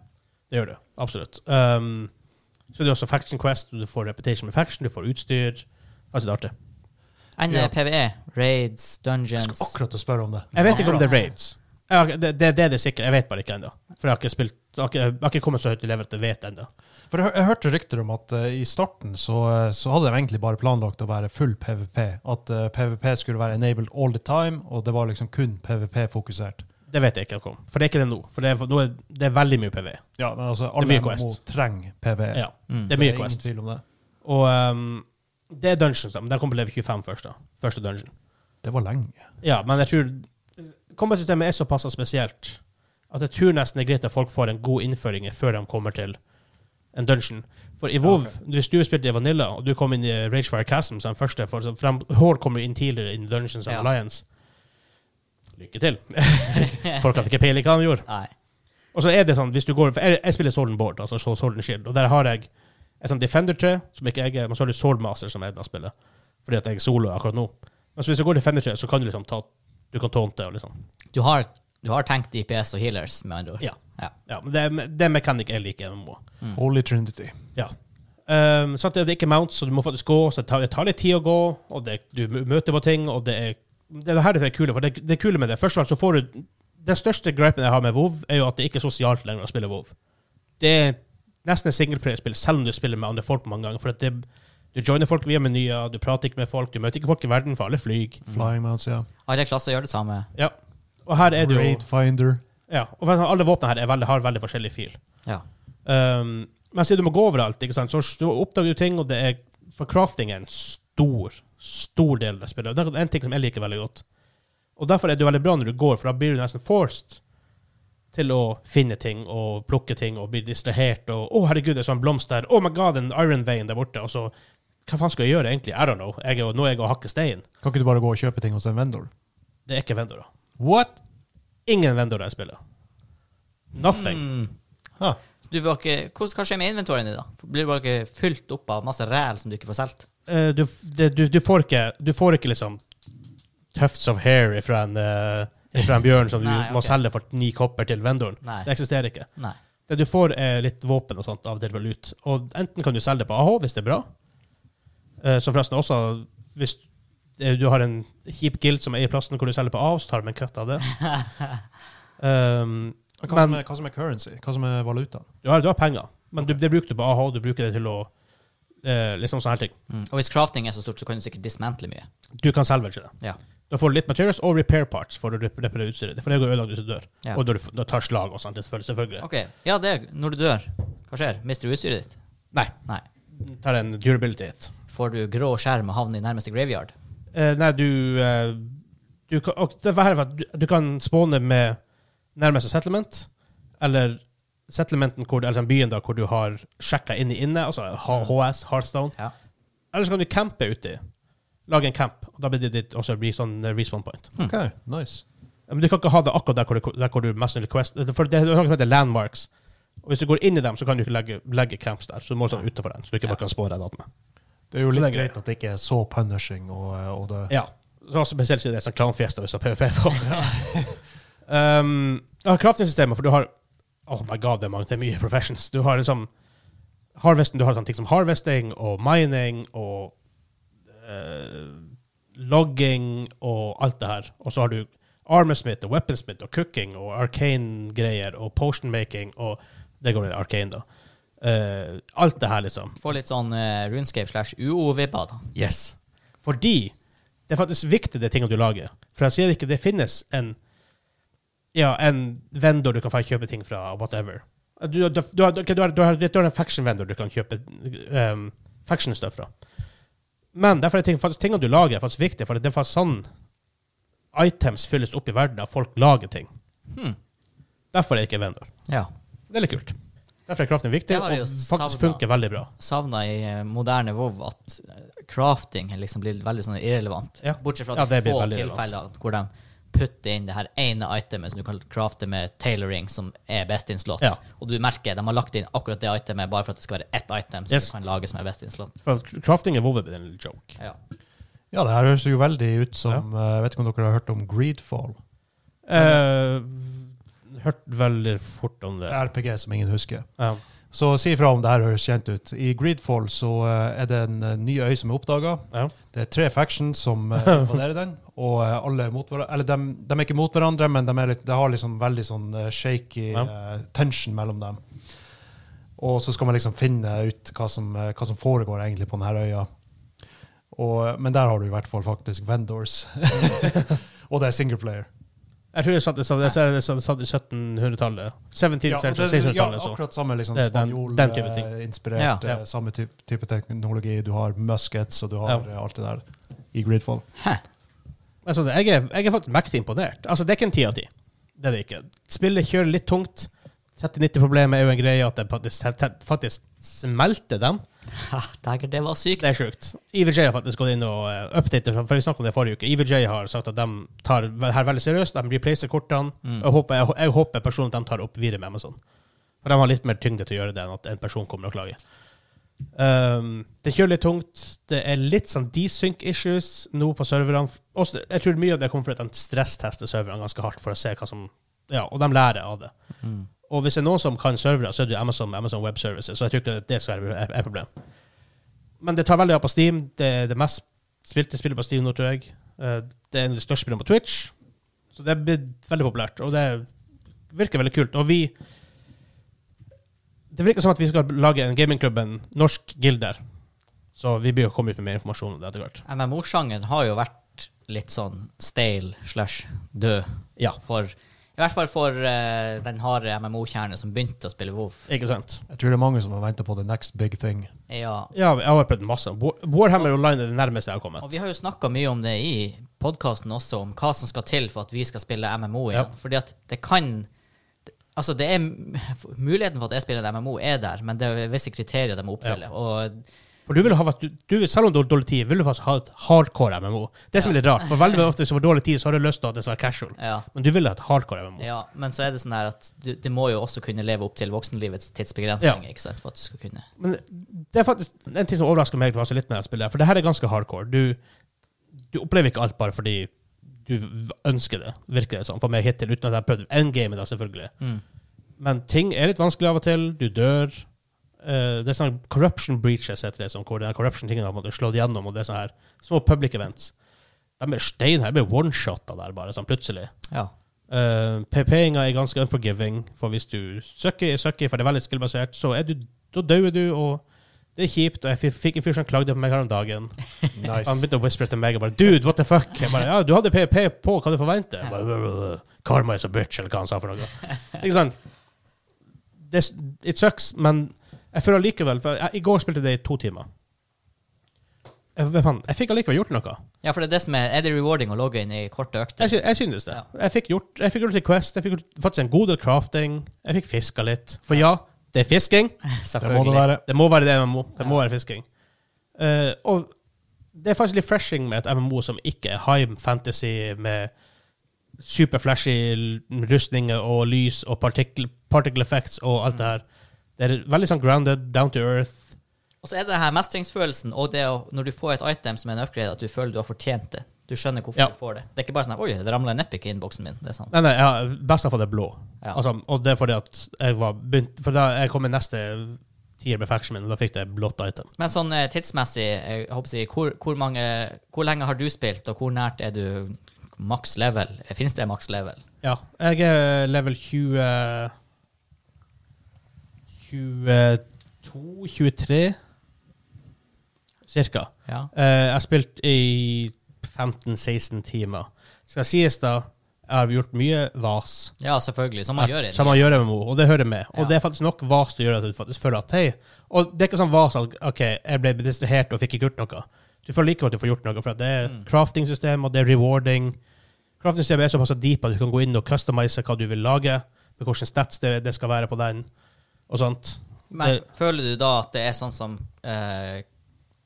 S1: Det gjør du. Absolutt. Um, så det er også Faction Quest, du får reputation med faction, du får utstyr. Altså, det er artig.
S2: Enn
S3: Ja.
S2: eh, PVE? Raids, dungeons
S3: Akkurat å spørre om det.
S1: Jeg vet ikke om det er raids. Jeg har- Det, det, det er det sikkert. Jeg vet bare ikke ennå. For jeg har ikke, spilt, jeg har ikke, jeg har ikke kommet så høyt i level at jeg vet ennå.
S3: For jeg, hø- jeg hørte rykter om at eh, i starten så, eh, så hadde de egentlig bare planlagt å være full PVP. At eh, PVP skulle være enabled all the time, og det var liksom kun PVP-fokusert.
S1: Det vet jeg ikke om. For det er ikke det nå. For det er, nå er, det er veldig mye PV.
S3: Ja, men altså,
S1: Det
S3: alle
S1: er mye
S3: må
S1: quest.
S3: trenge PVE.
S1: Ja.
S2: Mm.
S1: Det er mye Quest.
S3: ingen tvil om det.
S1: Og um, det er dungeons, da. Men der kommer på level 25 først, da. Første dungeon.
S3: Det var lenge.
S1: Ja, men jeg tror Combat-systemet er såpass spesielt at jeg tror nesten det er greit at folk får en god innføring før de kommer til en dungeon. For i WoW, hvis du spilte i Vanilla, og du kom inn i Ragefire Chasm som første for, for de, Horde kommer jo inn tidligere inn i Dungeons and
S2: Ja.
S1: Alliance. Lykke til. folk hadde ikke peiling hva de gjorde.
S2: Nei.
S1: Og så er det sånn, hvis du går, for jeg, jeg spiller Sword and Board, altså så- Sword and Shield, og der har jeg et sånt Defender-tre, som ikke jeg er, men så har du Swordmaster, som jeg da spiller, fordi at jeg er solo akkurat nå. Men så hvis du går Defender-tre, så kan du liksom ta, du kan taunte og liksom.
S2: Du har, du har tenkt DPS og healers, med andre ord?
S1: Ja.
S2: ja.
S1: Ja, men det, er- det er mekanikk jeg liker i MMO.
S3: Holy Trinity.
S1: Ja. Um, så at det er ikke mounts, så du må faktisk gå, så det tar, det tar litt tid å gå, og det, du møter på ting, og det er det, er det her det er kule, for det, det er kule med det. Først og fremst så får du Den største gripen jeg har med WoW, er jo at det ikke er sosialt lenger å spille WoW. Det er nesten et singleplayerspill, selv om du spiller med andre folk mange ganger. For at det, du joiner folk via menyer, du prater ikke med folk, du møter ikke folk i verden, for alle flyr.
S3: Flying Mounts, ja.
S2: Alle klasser gjør det samme.
S1: Ja. Og her er det jo
S3: Raid Finder.
S1: ja, og Alle våpnene her er veldig, har veldig forskjellig fil.
S2: Ja.
S1: Um, men siden du må gå overalt, ikke sant? så så oppdager du ting, og det er For crafting er en stor, stor del av det spillet. Og Det er en ting som jeg liker veldig godt. Og derfor er det jo veldig bra når du går, for da blir du nesten forced til å finne ting og plukke ting og bli distrahert. Og 'Å, herregud, det er sånn blomst der.' 'Oh my god, en iron vein der borte.' Og så Hva faen skal jeg gjøre, egentlig? I don't know. Jeg er, jo- nå er jeg og hakker stein.
S3: Kan ikke du bare gå og kjøpe ting hos en vendor?
S1: Det er ikke vendorer.
S3: What?
S1: Ingen vendorer jeg spiller. Nothing.
S2: Mm.
S1: Huh.
S2: Du bør ikke, hvordan, hva skjer med inventoryen din, da? Blir du bare ikke fylt opp av masse ræl som du ikke får solgt?
S1: Eh, du, det, du, du, får ikke, du får ikke liksom tufts of hair ifra en, eh, ifra en bjørn som du
S2: Nei,
S1: må
S2: ok.
S1: selge for ni kopper til vendoren.
S2: Nei.
S1: Det eksisterer ikke.
S2: Nei.
S1: Det du får, er litt våpen og sånt av og til vel ut. Og enten kan du selge det på AH hvis det er bra, Eh, så forresten også hvis eh, du har en kjip guild som eier plassen hvor du selger på AH, så tar de en cut av det. Um,
S3: Hva, som
S1: Men-
S3: er, hva som er currency? Hva som er valuta?
S1: du, har, du har penger, men du, det bruker du på AH, du bruker det til å eh, Liksom sånne her ting.
S2: Mm. Og hvis crafting er så stort, så kan du sikkert dismantle mye.
S1: Du kan salvage det.
S2: Ja.
S1: Da får du litt materials og repair parts for å rep- reparere utstyret. For det går ødelagt hvis du dør.
S2: Ja.
S1: Og da, du- da tar slag og sånt, selvfølgelig- selvfølgelig.
S2: Ok, ja, det er når du dør. Hva skjer? Mister du utstyret ditt?
S1: Nei,
S2: Nei.
S1: tar en durability hit.
S2: Får du grå skjerm og havner i nærmeste graveyard?
S1: Eh, nei, du, eh, du kan, og det her er at du, du kan spåne med nærmeste settlement, eller settlementen hvor, eller den byen da, hvor du har sjekka inn i inne, altså H- HS, Heartstone.
S2: Ja.
S1: Eller så kan du campe uti. Lage en camp, og da blir det ditt også blir sånn eh, respawn point.
S3: OK, nice.
S1: Men du kan ikke ha det akkurat der hvor du, der hvor du mest sannsynlig quest, for det er noe som heter landmarks. Og hvis du går inn i dem, så kan du ikke legge, legge camps der. Så du må sånn utenfor den, så du ikke bare kan spå deg med.
S3: Det er jo
S1: Så
S3: litt
S1: det er greit.
S3: greit at det ikke er så punishing og, og det
S1: Ja. Så også spesielt siden det er sånn klanfiesta hvis du har PVP på. um, ja, Crafting-systemet, for du har Oh my god, det er, mange, det er mye professions. Du har liksom Harvesten, du har sånne ting som harvesting og mining og eh, logging og alt det her. Og så har du armorsmith og weaponsmith og cooking og arcane-greier og potion-making og Det går i arcane, da. Eh, alt det her, liksom.
S2: Får litt sånn eh, runescape slash UO-vibber, da.
S1: Yes. Fordi det er faktisk viktig, det tingene du lager. For jeg sier ikke det finnes en ja, en vendor du kan få kjøpe ting fra, og whatever. Du, du, du, har, ok, du, har, du, har, du har en faction-vendor du kan kjøpe um, faction-stuff fra. Men derfor er ting, faktisk, tingene du lager, er faktisk viktige, for det er faktisk sånn items fylles opp i verden av folk lager ting.
S2: Hmm.
S1: Derfor er det ikke vendor.
S2: Ja.
S1: Det er litt kult. Derfor er kraften viktig,
S2: Det har
S1: og
S2: jeg jo
S1: faktisk
S2: savnet.
S1: funker veldig bra.
S2: Savna i eh, moderne WoW at eh, crafting er liksom blir veldig sånn irrelevant.
S1: Ja.
S2: Bortsett fra
S1: Ja,
S2: at
S1: det
S2: det
S1: blir
S2: få
S1: veldig
S2: tilfeller hvor de putter inn det her ene itemet som du kan crafte med tailoring, som er best in slot.
S1: Ja.
S2: Og du merker de har lagt inn akkurat det itemet bare for at det skal være ett item som
S1: Yes.
S2: du kan lage som er best in slot.
S1: For crafting er vovebit en lille joke.
S2: Ja.
S3: Ja, det her høres jo veldig ut som eh, Vet ikke om dere har hørt om Greedfall?
S1: Eh, hørte veldig fort om det.
S3: RPG som ingen husker.
S1: Ja.
S3: Så si ifra om det her høres kjent ut. I Greedfall så eh, er det en eh, ny øy som er oppdaga.
S1: Ja.
S3: Det er tre factions som eh, invaderer den, og eh, alle er mot hverandre. Eller de, er ikke mot hverandre, men de, er litt, de har liksom veldig sånn eh, shaky
S1: Ja.
S3: eh, tension mellom dem. Og så skal man liksom finne ut hva som, eh, hva som foregår egentlig på denne øya. Og, eh, men der har du i hvert fall faktisk vendors. og det er single player.
S1: Jeg tror jeg satt, jeg satt, jeg satt, jeg satt, jeg satt i 1700-tallet. 17th
S3: Ja, og
S1: century,
S3: det, ja,
S1: 1600-tallet. så.
S3: akkurat samme liksom,
S1: sånn Det er den- den type ting.
S3: spanjol-inspirert.
S1: Ja. Ja.
S3: eh, Samme type, type teknologi. Du har muskets, og du har
S1: Ja.
S3: eh, alt det der i Gridfall.
S1: Altså, det- jeg, er, jeg er faktisk mektig imponert. Altså, det er ikke en 10 av 10. Det er det ikke. Spillet kjører litt tungt. 30-90-problemet er jo en greie at det faktisk, te- faktisk smelter dem.
S2: Ha, Dæger, det var sykt.
S1: Det er sjukt. EVJ har faktisk gått inn og uh, updatet, for vi snakket om det forrige uke. EVJ har sagt at de tar det her veldig seriøst. De replacer kortene.
S2: Mm.
S1: Jeg, håper, jeg, jeg håper personen de tar opp videre med Amazon. For de har litt mer tyngde til å gjøre det enn at en person kommer og klager. Um, det kjører litt tungt. Det er litt sånn desync issues nå på serverne. Også- Jeg tror mye av det kommer fordi at de stresstester serverne ganske hardt for å se hva som Ja, og de lærer av det.
S2: Mm.
S1: Og hvis det er noen som kan servere, så er det jo Amazon, Amazon Web Services. Så jeg tror ikke det skal være et et problem. Men det tar veldig av på Steam. Det er det mest spilte spillet på Steam nå, tror jeg. Eh, Det er en av de største spillene på Twitch. Så det er blitt veldig populært, og det virker veldig kult. Og vi Det virker som at vi skal lage en gamingklubb, en norsk guild der. Så vi bør jo komme ut med mer informasjon om det etter hvert.
S2: MMO-sjangeren har jo vært litt sånn stale slash død.
S1: Ja.
S2: For, I hvert fall for eh, den harde MMO-kjernen som begynte å spille WoW.
S1: Ikke sant?
S3: Jeg tror det er mange som har venta på the next big thing.
S2: Ja,
S1: Ja, jeg har prøvd masse. War- Warhammer Online er det nærmeste jeg har kommet.
S2: og vi har jo snakka mye om det i podkasten også om hva som skal til for at vi skal spille MMO igjen. Fordi at det kan Altså, det er, muligheten for at jeg spiller en MMO, er der, men det er visse kriterier de må oppfylle. Og
S1: For du vil ha, vært- du, du, selv om du har dårlig tid, vil du faktisk ha et hardcore MMO. Det som er litt rart, for veldig ofte hvis du har dårlig tid, så har du lyst til at det skal være casual.
S2: ja.
S1: Men du vil ha et hardcore MMO.
S2: Ja, men så er det sånn her at du, det må jo også kunne leve opp til voksenlivets tidsbegrensning. ikke sant, for at du skal kunne.
S1: Men det er faktisk en ting som overrasker meg faktisk litt med det spillet, her, for det her er ganske hardcore. Du, du opplever ikke alt bare fordi du v- ønsker det, virker det som, for meg hittil, uten at jeg har prøvd endgame da, selvfølgelig.
S2: Mm.
S1: Men ting er litt vanskelig av og til. Du dør. Eh, det er sånn corruption breaches, heter det, sånn, hvor den corruption-tingen har måttet slått igjennom, og det er sånn her små public events. De er stein her, de blir one-shotta der bare, sånn plutselig.
S2: Ja.
S1: Uh, PP-inga er ganske unforgiving, for hvis du søkker, søkker for det er veldig skillbasert, så er du, da dør du, og det er kjipt. Og jeg fi- fikk en fyr som klagde på meg her om dagen. Han
S3: Nice.
S1: begynte å whispere til meg og bare 'Dude, what the fuck?' Jeg bare, ja, 'Du hadde PP på, hva du forventer?' Jeg Bare, Karma is a bitch, eller hva han sa for noe. Ikke sant? Det, s- it sucks, men jeg føler allikevel For jeg, i går spilte det i to timer. Jeg, hva faen, jeg fikk allikevel gjort noe.
S2: ja, for det er det som er Er det rewarding å logge inn i korte økter?
S1: Jeg, sy jeg synes det. Jeg fikk gjort Jeg fikk gjort litt Quest, jeg fikk gjort faktisk en god del crafting. Jeg fikk fiska litt. For ja, det er fisking.
S3: Det må det være.
S1: Det må være det MMO. Det må være fisking. Eh, og det er faktisk litt freshing med et MMO som ikke er high fantasy med superflashy l- rustninger og lys og particle, particle effects og alt
S3: Mm.
S1: det her. Det er veldig sånn grounded, down to earth.
S2: Og så er det den her mestringsfølelsen, og det å, når du får et item som er en upgrade, at du føler du har fortjent det. Du skjønner hvorfor
S1: Ja.
S2: du får det. Det er ikke bare sånn at, Oi, det ramla en epic i innboksen min. Det er sånn.
S1: Nei, nei, jeg har best av det blå.
S2: Ja.
S1: Altså, og det er fordi at jeg var begynt For da jeg kom i neste tier med faction min, og da fikk jeg blått item.
S2: Men sånn eh, tidsmessig, jeg håper å si, hvor, hvor, mange, hvor lenge har du spilt, og hvor nært er du maks level? Fins det maks level?
S1: Ja. Jeg er level 20 22-23, cirka.
S2: Ja.
S1: Eh, jeg har spilt i 15-16 timer. Skal sies da, jeg har gjort mye vas.
S2: ja, selvfølgelig. Som man gjør i
S1: Som man gjør det med henne, og det hører med. Og
S2: Ja.
S1: det er faktisk nok vas til å gjøre at du faktisk føler at hei Og det er ikke sånn vas at OK, jeg ble distrahert og fikk ikke gjort noe. Du føler likevel at du får gjort noe, for at det er
S2: Mm.
S1: crafting-system, og det er rewarding. Crafting-systemet er såpass deep at du kan gå inn og customize hva du vil lage, med hvilke stats det, det skal være på den, og sånt.
S2: Men
S1: Det-
S2: føler du da at det er sånn som eh,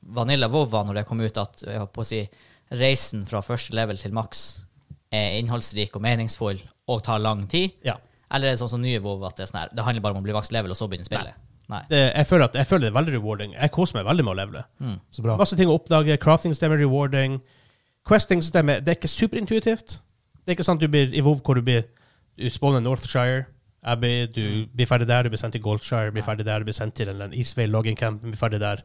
S2: Vanilla Vova når det kom ut, at jeg holdt på å si, reisen fra første level til maks er innholdsrik og meningsfull og tar lang tid?
S1: Ja.
S2: Eller er det sånn som nye Vova at det, er sånn her, det handler bare om å bli maks level og så begynne spillet? Nei.
S1: Det, jeg, føler at, jeg føler det er veldig rewarding. Jeg koser meg veldig med å levele.
S2: Mm.
S3: Så bra.
S1: Masse ting å oppdage. Crafting-systemet er rewarding. Questing-systemet det er ikke superintuitivt. Det er ikke sånn at du blir i WoW hvor du blir du spawner Northshire. Jeg blir, du blir ferdig der, du blir sendt til Goldshire, blir ferdig der, du blir sendt til en Isvei logging camp, blir ferdig der.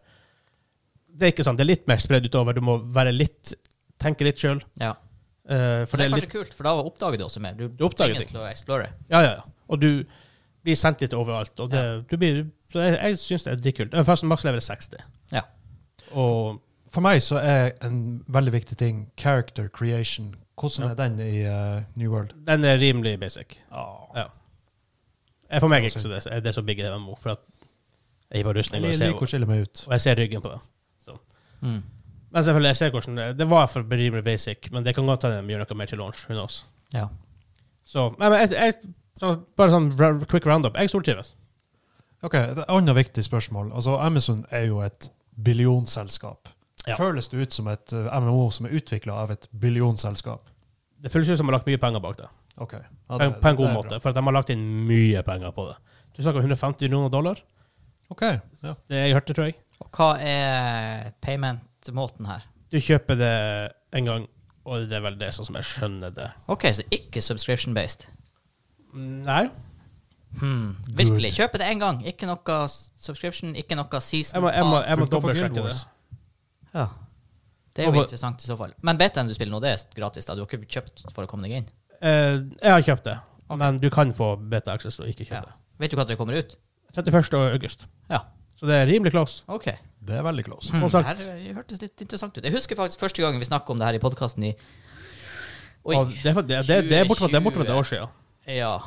S1: Det er ikke sånn, det er litt mer spredt utover. Du må være litt, tenke litt sjøl.
S2: Ja.
S1: for
S2: Men det
S1: det
S2: er
S1: er
S2: kanskje
S1: litt,
S2: kult, for da oppdager du også mer. Du,
S1: oppdager
S2: tvinges
S1: ting.
S2: til å explore.
S1: ja, ja, ja. Og du blir sendt litt overalt. Og det, du blir, så jeg, jeg syns det er dritkult. Jeg er Først maks level 60.
S2: Ja.
S1: Og
S3: For meg så er en veldig viktig ting character creation. Hvordan er den i eh, New World?
S1: Den er rimelig basic. Ja. Eh, For meg er ikke så det, er det så big i MMO, for at jeg gir bare rustning og jeg
S3: Jeg
S1: ser,
S3: liker å skille meg ut.
S1: og jeg ser ryggen på det. Så.
S2: Mm.
S1: Men selvfølgelig, jeg ser hvordan det Det var for rimelig basic, men det kan godt hende de gjør noe mer til launch. Who knows.
S2: ja.
S1: Så, nei, men jeg, jeg, sånn, bare sånn ra- quick roundup. Jeg stortrives.
S3: Ok, Et annet viktig spørsmål. Altså, Amazon er jo et billionselskap.
S1: Ja.
S3: Føles det ut som et eh, MMO som er utvikla av et billionselskap?
S1: Det føles ut som de har lagt mye penger bak det,
S3: Ok. Ja,
S1: på,
S3: det-
S1: en- på en
S3: det
S1: god
S3: er
S1: måte. For at de har lagt inn mye penger på det. Du snakker om 150 millioner dollar?
S3: bra. Ok, ja.
S1: Det jeg hørte, tror jeg.
S2: Og hva er payment-måten her?
S1: Du kjøper det en gang, og det er vel det sånn som jeg skjønner det.
S2: OK, så ikke subscription-based.
S1: Nei.
S2: Hmm. Virkelig. Kjøpe det én gang. Ikke noe s- subscription, ikke noe season
S1: Jeg må, jeg må, jeg må
S3: Fullt opp for Guild
S1: dobbeltsjekke det.
S3: Wars.
S2: pass. Ja. Det er jo
S1: Og-
S2: interessant i så fall. Men betaen du spiller nå, det er gratis? da Du har ikke kjøpt for å komme deg inn?
S1: Eh, jeg har kjøpt det,
S2: Ok.
S1: men du kan få beta access og ikke kjøpe
S2: Ja. Vet du når det kommer ut?
S1: det. 31. august.
S2: Ja.
S1: Så det er rimelig close.
S2: OK.
S3: Det er veldig close.
S2: Hmm.
S1: Og
S2: Det
S1: sagt-
S2: her hørtes litt interessant ut. Jeg husker faktisk første gangen vi snakka om det her i podkasten i Oi.
S1: Og det, er- det, det, det er bortimot det er bortimot et år siden.
S2: Ja.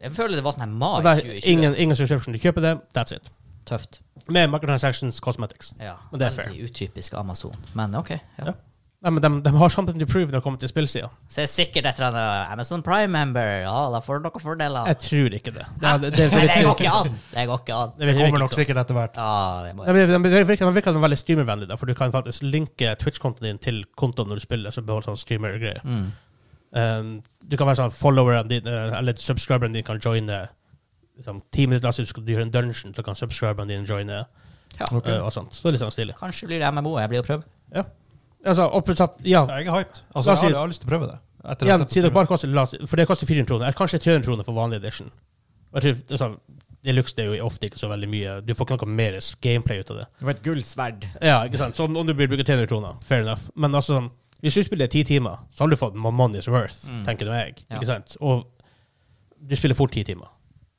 S2: Jeg føler det var sånn her mai
S1: Og det er
S2: 2020.
S1: ingen, ingen subscription. Du kjøper det, that's it.
S2: Tøft.
S1: Med microtransactions cosmetics.
S2: Ja,
S1: Men det er
S2: veldig utypisk Amazon. Men OK. Ja.
S1: Ja. Nei, men de, de har something to prove når det kommer til spillsida.
S2: Så jeg er sikkert etter en uh, Amazon Prime-member. Ja, da får du noen fordeler.
S1: Jeg tror ikke det.
S4: Ja, det, det,
S2: Nei, det
S4: virker jo
S2: går ikke
S4: ikke
S2: an! Det går ikke an.
S1: virker
S3: Kommer
S1: ikke
S3: nok
S1: sånn.
S3: sikkert etter hvert.
S2: Ja, det må
S1: De virker, de virker, de virker som veldig streamervennlige, da, for du kan faktisk linke Twitch-kontoen din til kontoen når du spiller, så beholder sånn streamer-greier.
S2: mm.
S1: Um, du kan være sånn followeren din, eh, eller subscriberen din kan joine liksom, ti minutter etter du skal gjøre en dungeon, så kan subscriberen din joine,
S2: ja.
S3: Ok.
S1: eh, og sånt. Så det er litt sånn stilig.
S2: Kanskje blir det MMO. Jeg blir å prøve.
S1: Altså, opp, opp, ja,
S3: Jeg er hyped.
S1: La
S3: Altså,
S1: oss
S3: jeg,
S1: si-
S3: har, jeg har lyst til å prøve det. Etter å ha
S1: igjen,
S3: sett
S1: si
S3: det
S1: det bare koster, la oss- for det koster 400 kroner, eller kanskje 300 kroner for vanlig edition. Og Jeg tror, altså, Deluxe det er jo ofte ikke så veldig mye. Du får ikke noe mer gameplay ut av det.
S4: Det var et gullsverd.
S1: Ja, ikke sant? Så om du blir bruke 300 kroner, fair enough. Men altså, sånn, hvis du spiller 10 timer, så har du fått my money's worth,
S2: Mm.
S1: tenker nå jeg.
S2: Ja.
S1: Ikke sant? Og du spiller fort 10 timer.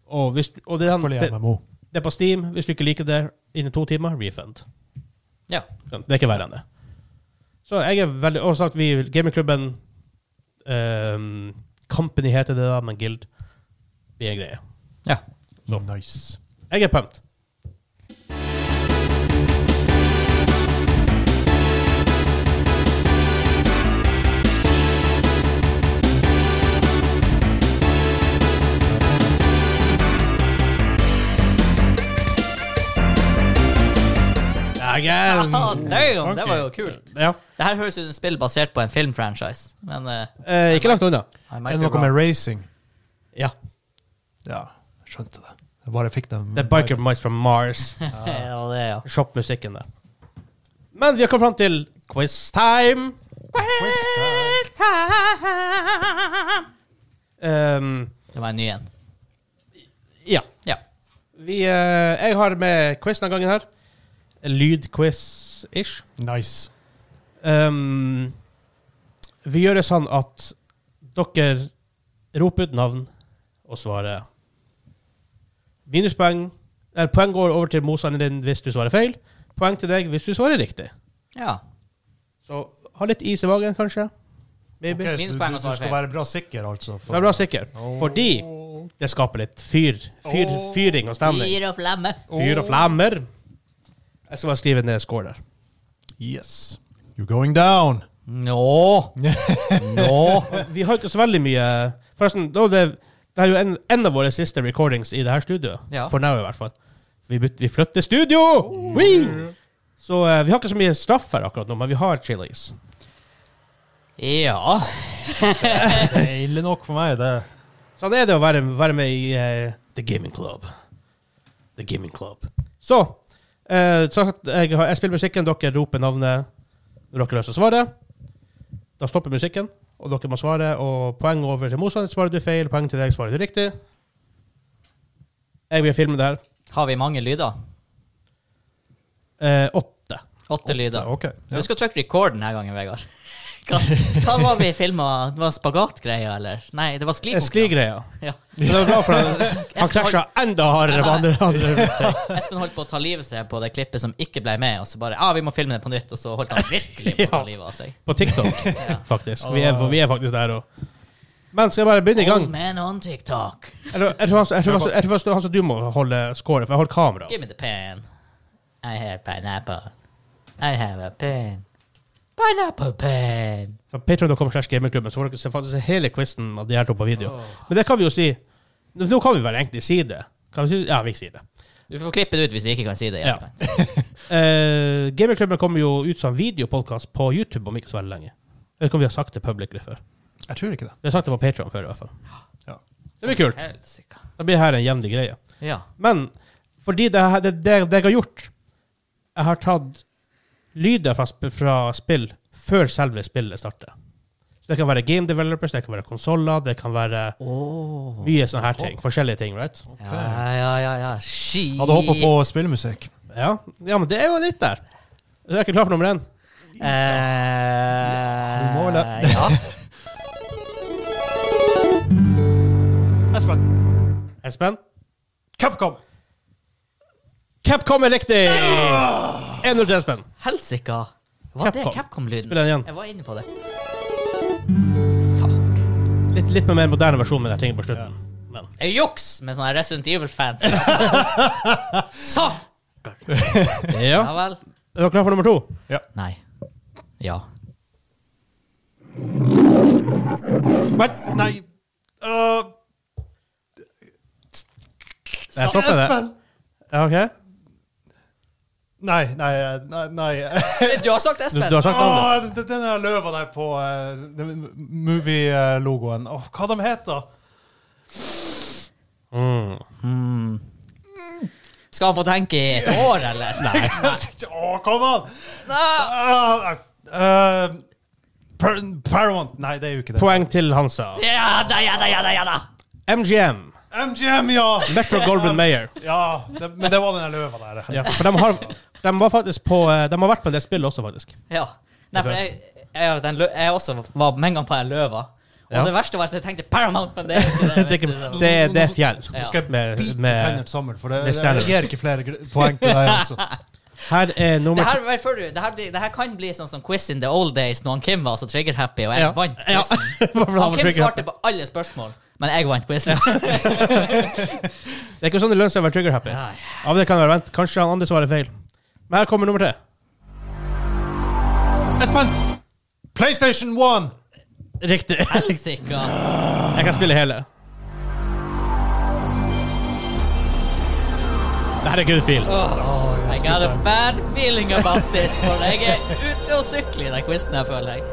S1: Og, hvis, og det, er-
S3: Fordi
S1: det,
S3: jeg er MMO.
S1: det er på Steam. Hvis du ikke liker det innen to timer, refund.
S2: Ja.
S1: Det er ikke verre enn det. Så jeg er veldig Og sagt, vi gamingklubben ehm, Company heter det da, men Guild Vi er greie.
S3: Nice.
S1: Jeg er pumped. Again.
S2: Ah, damn, det var jo kult.
S1: Ja.
S2: Det her høres ut som et spill basert på en filmfranchise, men eh,
S1: Eh, ikke langt unna.
S2: I
S3: Er
S2: might
S3: det
S2: be
S3: noe
S2: wrong.
S3: med racing?
S1: Ja.
S3: Ja, jeg skjønte det. Jeg bare fikk dem
S1: Det er Biker Mice fra Mars.
S2: ja, det, ja.
S1: Shop-musikken der. Men vi har kommet fram til quiz-time. Um,
S2: det var en ny en.
S1: ja.
S2: Ja.
S1: Vi, eh, jeg har med quiz denne gangen her. Lydquiz-ish.
S3: Nice.
S1: Um, vi gjør det sånn at dere roper ut navn og svarer minuspoeng. Eller poeng går over til motstanderen din hvis du svarer feil. Poeng til deg hvis du svarer riktig.
S2: ja.
S1: Så ha litt is i magen, kanskje. Maybe.
S3: Ok, så du,
S2: Minuspoeng
S3: du,
S2: og svar
S3: du skal
S2: feil.
S3: være bra sikker, altså. for-
S1: Vær bra sikker,
S3: Åh.
S1: fordi det skaper litt fyr. fyr
S3: Åh.
S1: fyring og stemning.
S2: Fyr og flamme.
S1: Fyr og flammer. Jeg skal bare skrive ned score der.
S3: Yes. You're going down.
S2: Nå! Nå!
S1: Vi har ikke så veldig mye Forresten, da det, det er jo en, en av våre siste recordings i det her studioet.
S2: Ja.
S1: For nå, i hvert fall. Vi, byt- vi flytter studio! Wee! Så eh, vi har ikke så mye straff her akkurat nå, men vi har chilies.
S2: Ja.
S3: Det er ille nok for meg, det.
S1: Sånn er det å være, være med i eh, The Gaming Club. The Gaming Club. Så, eh, så at jeg, har- jeg spiller musikken, dere roper navnet når dere har lyst til å svare. Da stopper musikken, og dere må svare. Og poeng over til motstander. Svarer du feil, poeng til deg, svarer du riktig. Jeg vil filme det her.
S2: Har vi mange lyder?
S1: Eh, åtte.
S2: Åtte lyder.
S3: Ok. Ja.
S2: Du skal trykke record denne gangen, Vegard. Hva, hva var vi filma? Det var spagatgreier, eller? Nei, det var
S1: Eh,
S2: sklikonkurranse.
S1: Skligreia.
S2: Ja.
S1: Det var bra, for han, han krasja enda hardere på andre. andre.
S2: Espen holdt på å ta livet seg på det klippet som ikke ble med, og så bare ah, vi må filme det på nytt, og så holdt han virkelig på å ta
S1: Ja.
S2: livet av seg.
S1: På TikTok, faktisk. Vi er, vi er faktisk der òg. Men skal jeg bare begynne i gang?
S2: Old man on TikTok.
S1: Jeg tror- jeg tror han som- jeg tror han som- jeg tror han som- han som du må holde score, for jeg holder kamera.
S2: Give me the pen. I have pineapple. I have a pen. Pineapple pen.
S1: Så Patreon.com slash gamingklubben, så får dere se faktisk hele quizen av de her to på video. Men det kan vi jo si. Nå nå kan vi vel egentlig si det. Kan vi si, ja, vi sier det.
S2: Du får klippe det ut hvis du ikke kan si det.
S1: Ja.
S2: Jakob.
S1: Eh, gamingklubben kommer jo ut som videopodkast på YouTube om ikke så veldig lenge. Det kan vi ha sagt det publicly før.
S3: Jeg tror ikke det.
S1: Vi har sagt det på Patreon før, i hvert fall.
S3: Ja.
S1: Det blir kult.
S2: Helsika.
S1: Da blir her en jevnlig greie.
S2: Ja.
S1: Men fordi det, her- det, det, det jeg har gjort Jeg har tatt lyder fra, sp- fra spill før selve spillet starter. Så det kan være game developers, det kan være konsoller, det kan være
S2: Oh.
S1: mye sånne her ting. Forskjellige ting, right?
S2: Ja, ja, ja. ja. Ski.
S3: Hadde håpa på spillmusikk.
S1: Ja, ja men det er jo litt der. Så jeg er ikke klar for nummer én.
S2: Eh,
S3: Du må vel det.
S2: ja.
S3: Espen.
S1: Espen?
S3: Capcom.
S1: Capcom er riktig! 1-0 til Espen.
S2: Helsika. Var det
S1: Capcom.
S2: Capcom-lyden?
S1: Spill den igjen.
S2: Jeg var inne på det. Fuck.
S1: Litt, litt mer moderne versjon med de her tingene på slutten. Men
S2: Det er juks med sånne Resident Evil-fans. Sånn. Så!
S1: ja.
S2: Ja vel.
S1: Er dere klar for nummer to?
S2: Nei. Ja.
S3: Men, nei Øh,
S1: Jeg stopper det.
S3: Espen!
S1: Ja, ok?
S3: Nei, nei, eh, nei, nei.
S2: Du har sagt
S1: Du,
S2: Espen!
S1: du har sagt navnet.
S3: Åh, den den der løva der på eh, den movie-logoen Åh, Hva de heter
S1: Mm.
S2: Skal han få tenke i et år, eller? Nei.
S3: Åh, kom an! Ah, eh, Par- Paramount Nei, det er jo ikke det.
S1: Poeng til Hansa.
S2: Ja da, ja da, ja da, ja da.
S1: MGM.
S3: MGM, ja!
S1: Metro Goldman Mayer.
S3: ja det, men det var den der løva der.
S1: Ja, for de har, de var faktisk på eh, De har vært på en del spill også, faktisk.
S2: Ja. Nei, for jeg, jeg, den lø, jeg også var med en gang på den løva. Og
S1: Ja.
S2: det verste var at jeg tenkte Paramount, men det er ikke
S1: Det er,
S2: det.
S1: ikke,
S2: vet du.
S1: det, er- det er fjell.
S2: Ja.
S3: Nå skal jeg
S1: Med-
S3: bite
S1: med-
S3: tennene sammen, for det,
S1: med
S3: det,
S1: stjerner.
S3: gir ikke flere gr- poeng til deg. Altså.
S1: Her er nummer
S2: Det her, men føler du, det, her blir, det her kan bli sånn som quiz in the old days, når han Kim var så trigger-happy, og jeg
S1: Ja.
S2: vant
S1: Ja.
S2: quizen.
S1: Bare for å ha
S2: Han
S1: med
S2: Kim
S1: trigger
S2: svarte på alle spørsmål, men jeg vant quizen.
S1: Det er ikke sånn det lønner seg å være trigger happy.
S2: Nei.
S1: Av det kan være vent. Kanskje han andre svarer feil. Men her kommer nummer tre.
S3: Espen! PlayStation 1!
S1: Riktig.
S2: Helsika.
S1: Jeg kan spille hele. Det her er good feels.
S2: I got a bad feeling about this, for jeg er ute og sykler i den quizen her, føler jeg.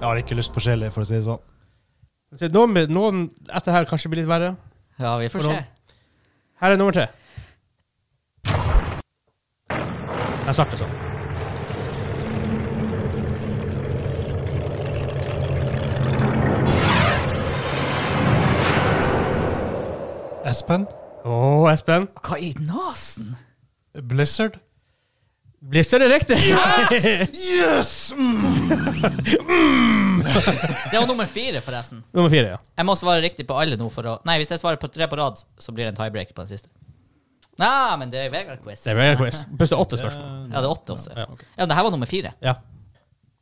S3: Jeg har ikke lyst på chili, for å si det sånn.
S1: Så Noen, noen etter her kanskje blir litt verre.
S2: Ja, vi får
S1: For
S2: se.
S1: noen- Her er nummer tre. Den starter sånn.
S3: Espen?
S1: Å, Espen.
S2: Hva i nasen?
S3: Blizzard?
S1: Blister det riktig?
S3: Yes! Mm.
S2: Det var nummer fire, forresten.
S1: nummer fire, ja.
S2: Jeg må svare riktig på alle nå for å Nei, hvis jeg svarer på tre på rad, så blir det en tiebreaker på den siste. Nei, men det er Vegard-quiz.
S1: Det er vel en quiz. Pluss det er åtte spørsmål.
S2: Ja, det er åtte også.
S1: Ja,
S2: Ja,
S1: ok.
S2: men det her var nummer fire.
S1: Ja.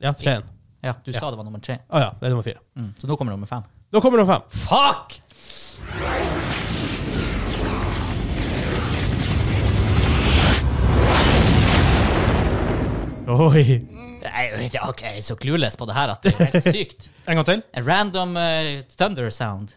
S1: Ja, tre-en.
S2: Ja, du sa det var nummer tre.
S1: Å ja, det er nummer fire.
S2: Mm. Så nå kommer nummer fem.
S1: Da kommer nummer fem.
S2: Fuck!
S1: Oi.
S2: Nei, vet du, ok, jeg er så clueless på det her at det er helt sykt.
S3: En gang til.
S2: A random eh, thunder sound.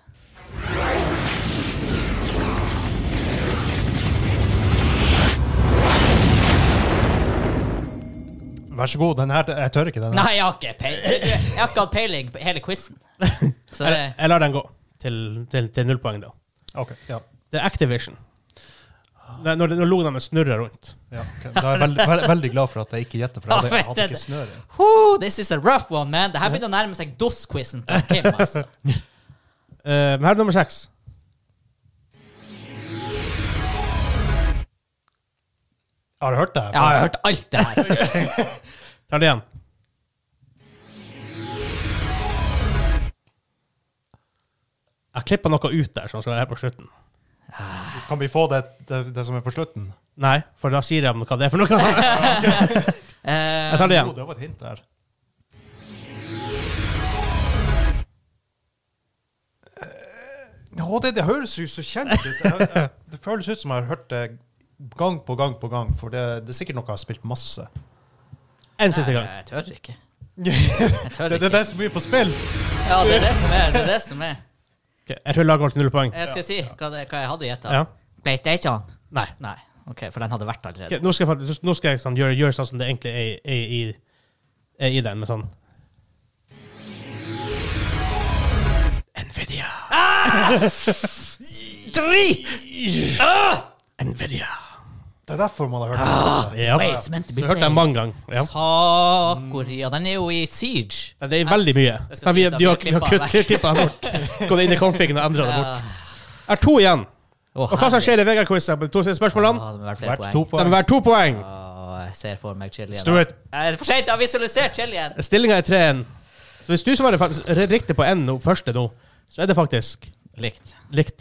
S3: Vær så god. Den her, jeg tør ikke den. her.
S2: Nei, jeg har ikke peiling. Jeg har ikke hatt peiling på hele quizen. Så det,
S1: Jeg, jeg lar den gå til, til, til null poeng, da.
S3: Ok, ja.
S1: Det er Activision. Nei, Når, når logoen deres snurrer rundt.
S3: ja ok. Da er jeg veldig, veldig, veldig glad for at jeg ikke gjetter, for
S2: Ja,
S3: jeg hadde, jeg hadde
S2: vet
S3: ikke
S2: det.
S3: snøring.
S2: Whew, this is a rough one, man. Det her begynner å nærme seg DOS-quizen på Kim, altså.
S1: Eh, men her er nummer seks.
S3: Har du hørt det?
S2: Jeg har hørt alt det her.
S1: Tar det igjen. Jeg klippa noe ut der sånn som skal være her på slutten.
S3: Kan vi få det, det, det som er på slutten?
S1: Nei, for da sier jeg om hva det er for noe. Jeg
S2: Eh,
S1: tar det
S3: Jo,
S1: igjen.
S3: det var et hint der. Nå, det, det høres jo så kjent ut. Jeg- jeg- Det føles ut som jeg har hørt det gang på gang på gang, for det, det er sikkert noe jeg har spilt masse.
S1: En siste gang.
S2: Jeg tør ikke.
S3: det,
S2: Jeg tør
S3: det,
S2: ikke.
S3: det er så mye på spill.
S2: Ja, det er det som er. Det er det som er.
S1: Ok, jeg tror laget går til null poeng.
S2: Jeg skal si hva, det, hva jeg hadde gjetta.
S1: Ja.
S2: PlayStation?
S1: Nei.
S2: Nei. Ok, for den hadde vært
S1: Ok,
S2: allerede.
S1: nå skal jeg, faktisk- nå skal jeg sånn, gjøre, gjøre sånn som det egentlig er, er, i- er i den, med sånn Nvidia.
S2: Drit!
S1: Nvidia.
S3: Det er derfor man har hørt det. spillet.
S1: Ja.
S2: Wait, it's meant to be
S1: Du har hørt den mange ganger. Ja.
S2: Sa-Korea. Den er jo i Siege.
S1: Men Det er veldig mye.
S2: Det skal
S1: Men vi,
S2: sies at
S1: vi har,
S2: vi
S1: vi
S2: har
S1: har
S2: klippet den
S1: klippa den bort. Gått inn i configgen og endra den bort. Jeg har to igjen.
S2: Å,
S1: Og hva som
S2: herregud.
S1: skjer i Vegard-quizen på de to siste spørsmålene?
S2: Å, det må være flere
S3: Hvert
S2: poeng.
S3: to
S1: Det må
S3: poeng.
S1: være to poeng.
S2: Å, jeg ser for meg chilien.
S3: Stuart.
S2: Eh, Det er for seint, jeg har visualisert chilien.
S1: Stillinga er 3-1. Så hvis du svarer faktisk r- riktig på én nå, første nå, så er det faktisk
S2: Likt.
S1: likt.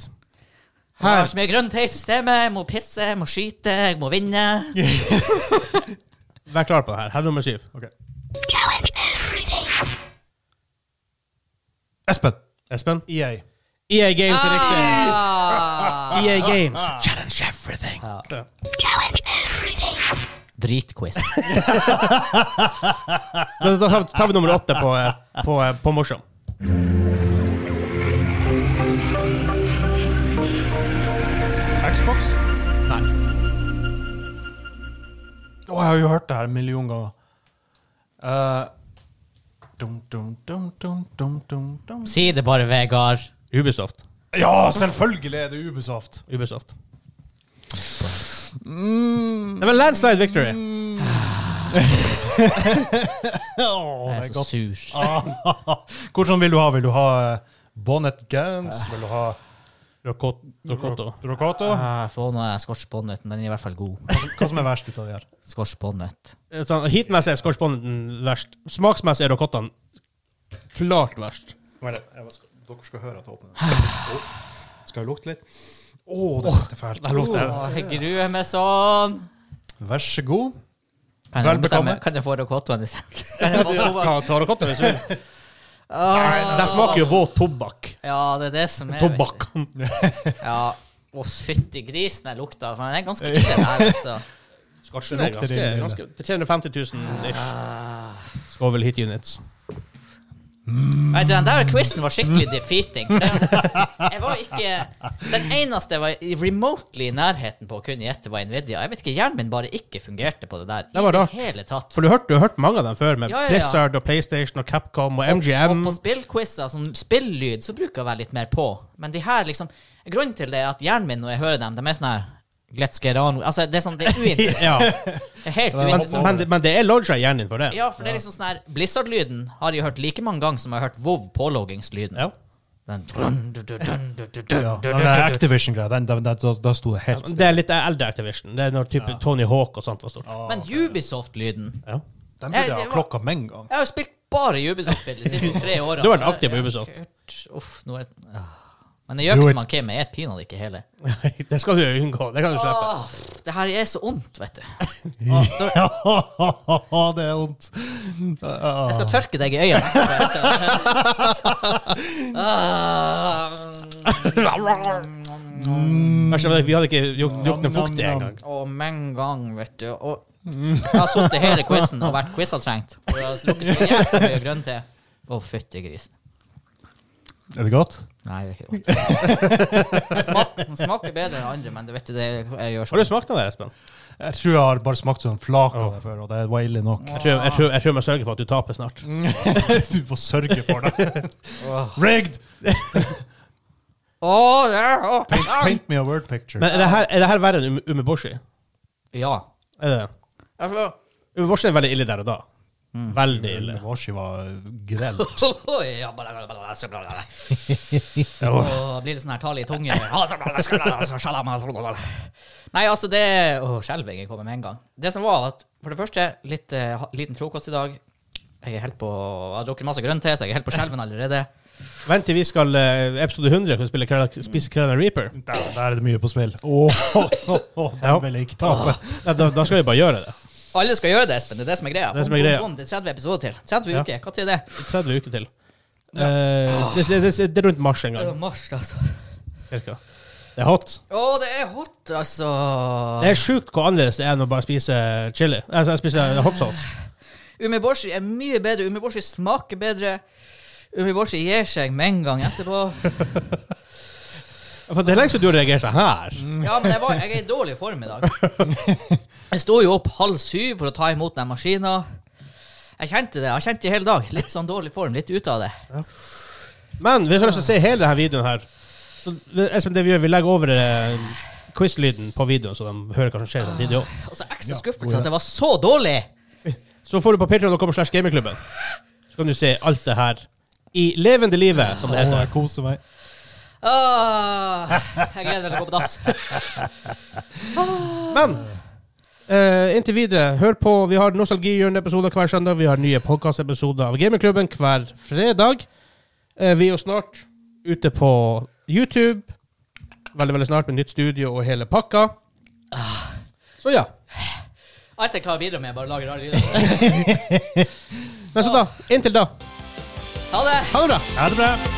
S2: Jeg har
S1: Her
S2: så mye grønt her i systemet. Jeg må pisse, jeg må skyte, jeg må vinne.
S1: Vær klar på det her. Her er nummer syv.
S3: Ok. Espen. E
S1: Espen?
S3: EA.
S1: EA Games er riktig. E
S2: Ah!
S1: EA Games. Challenge everything.
S2: Dritquiz.
S1: Da, da tar vi- tar vi nummer åtte på, eh, på, eh, på morsom.
S3: Xbox?
S1: Nei.
S3: Å, jeg har jo hørt det her en million ganger. Eh, dum, dum, dum, dum, dum, dum, dum.
S2: Si det bare, Vegard.
S1: Ubisoft.
S3: Ja, selvfølgelig er det Ubisoft.
S1: Ubisoft.
S2: Mm.
S1: Det var landslide victory.
S3: Åh,
S2: Jeg
S3: det
S2: er
S3: er
S2: så
S3: godt.
S2: sur.
S3: Hvordan vil du ha? Vil du ha eh, Bonnet Gans? Vil du ha
S1: Rokoto.
S3: Eh. Rokoto? Eh.
S2: Ah, Få nå den Scotch bonneten. Den er i hvert fall god.
S3: Hva som er verst ut av det her?
S2: Scotch bonnet.
S1: Sånn, Heatmessig er skorresponden verst. Smaksmessig er rokottene klart verst.
S3: dere skal høre at jeg åpner Skal jeg lukte litt? Å, det lukter fælt.
S2: Åh, jeg gruer meg sånn.
S3: Vær så god.
S2: Kan jeg,
S3: Vel
S2: bestemme,
S3: bekomme.
S2: kan jeg få rokottoen i senk?
S1: Ta, ta rokottene hvis du vil.
S2: Åh.
S1: De smaker jo våt tobakk.
S2: Ja, det er det som er
S1: Tobakk.
S2: vet du. Ja. Å, fytti grisen, jeg lukta. for Den er ganske ille, den her, altså.
S1: Skorsen er
S3: Det lukter
S1: ganske,
S3: ille.
S1: ganske 350 000 ish.
S2: Ah.
S1: Skal vel hit units.
S2: Nei, du, den der quizen var skikkelig defeating. for den- Jeg var ikke Den eneste jeg var i- remotely i nærheten på å kunne gjette, var Nvidia. Jeg vet ikke, Hjernen min bare ikke fungerte på det der.
S1: Det var
S2: I
S1: rart.
S2: det hele tatt.
S1: For du hørte, du har hørt mange av dem før, med
S2: Ja, ja, ja.
S1: Blizzard og PlayStation og Capcom og
S2: Og
S1: MGM.
S2: på spillquizer, sånn spilllyd, så bruker jeg å være litt mer på. Men de her, liksom Grunnen til det er at hjernen min, når jeg hører dem, de er sånn her Let's get on. Altså, det er sånn, det er uinteressant.
S1: Ja.
S2: Det er helt
S1: Men,
S2: uinteressant.
S1: men, men det er lodga i hjernen din for det.
S2: Ja, for det er liksom sånn her Blizzard-lyden har jeg hørt like mange ganger som jeg har hørt WoW-påloggingslyden.
S1: Ja.
S2: Den dun, dun, dun, dun, dun, dun, dun,
S3: Ja,
S2: dun, dun,
S3: den der
S2: dun.
S3: Activision-greia, den- den- den- da da sto det helt
S1: Altså, Det er litt eldre Activision. Det er når type Tony Hawk og sånt var stort.
S2: Men Ubisoft-lyden
S1: Ja.
S3: Den
S2: Nei,
S3: burde
S2: Eh,
S3: jeg
S2: det
S3: ha
S2: var-
S3: klokka med en gang.
S2: Jeg har jo spilt bare Ubisoft-spill de siste tre årene.
S1: Du har vært aktiv på Ubisoft.
S2: Jeg- Uff, nå er ah. Men jeg
S3: Do
S2: gjør ikke
S3: it.
S2: som han Kim, jeg er pinadø ikke hele.
S1: det skal du unngå. Det kan du slippe.
S2: Åh, det her er så ondt, vet du. Ah,
S3: Ja, det er vondt. Eh,
S2: Jeg skal tørke deg i øynene. Ah.
S1: Verst av alt, Vi hadde ikke luk- lukten
S3: Nam,
S1: fuktig
S3: nam, nam.
S1: engang.
S2: Og med en gang, vet du. Og jeg har sittet hele quizen og vært quizavtrengt. Og jeg har slukket så jævlig mye grønn te. Å, fytti grisen.
S3: Er det godt?
S2: Nei, det er ikke godt. Den smaker, den smaker bedre enn andre, men det vet du, det jeg gjør
S1: Har du
S2: sånn.
S1: smakt av det, Espen?
S3: Jeg tror jeg har bare smakt sånn flak av det før, og det var ille nok.
S1: Jeg tror jeg, tror, jeg tror jeg må sørge for at du taper snart.
S3: Du får sørge for det. Rigged!
S2: Å, det er å, nei.
S3: Paint me a word picture.
S1: Men er det her, er det her verre enn um- Umeboshi?
S2: Ja.
S1: Er det det?
S2: Altså,
S1: Umeboshi er veldig ille der og da. Veldig ille.
S3: Washi var grell.
S2: ja, bla, bla, bla, bla, bla, bla, bla. Og blir litt sånn her tale i tunge. Nei, altså det Åh, skjelvingen kommer med en gang. Det som var at, for det første, litt, eh, ha- liten frokost i dag. Jeg er helt på, jeg har drukket masse grønn te, så jeg er helt på skjelven allerede.
S1: Vent til vi skal eh, episode 100 skal vi spille Carol- spise Carolina Reaper.
S3: Der, der er det mye på spill. Åh, oh, den vil jeg ikke tape.
S1: Da, da, da skal vi bare gjøre det.
S2: Alle skal gjøre det, Espen. Det er det som er greia.
S1: Det er som er greia.
S2: Bom, bom, bom, det er 30 episoder til. 30
S1: Ja.
S2: uker. Hva tid er det?
S1: 30 uker til. Eh, det, det, det, det er rundt mars en
S2: Det er
S1: gang,
S2: mars, altså.
S1: cirka. Det er hot.
S2: Å, det er hot, altså.
S1: Det er sjukt hvor annerledes det er enn å bare spise chili. Altså, jeg spiser hot sauce.
S2: Umeboshi er mye bedre. Umeboshi smaker bedre. Umeboshi gir seg med en gang etterpå.
S1: For det er lenge siden du har reagert sånn her.
S2: Ja, men jeg, var, jeg er i dårlig form i dag. Jeg sto jo opp halv syv for å ta imot den maskina. Jeg kjente det jeg kjente det hele dag. Litt sånn dårlig form, litt ut av det.
S1: Men hvis du har lyst til å se hele denne videoen her så, Espen, det vi gjør, vi legger over eh, quiz-lyden på videoen, så de hører hva som skjer i den videoen.
S2: Og så ekstra skuffelse at jeg var så dårlig!
S1: Så får du på patreon.com slash gamingklubben. Så kan du se alt det her i levende livet, som det
S3: Åh,
S1: heter.
S3: jeg koser meg.
S2: Åh, Ah, jeg gleder meg til å gå på dass.
S1: Men eh, inntil videre, hør på. Vi har nostalgihjørne-episoder hver søndag. Vi har nye podkast-episoder av Gamingklubben hver fredag. Eh, vi er jo snart ute på YouTube. Veldig, veldig snart med nytt studio og hele pakka.
S3: Ah.
S1: Så ja.
S2: Alt jeg klarer å bidra med, jeg bare lager rare lyder.
S1: Men så da, inntil da.
S2: Ha det!
S1: Ha det bra.
S3: Ha det bra.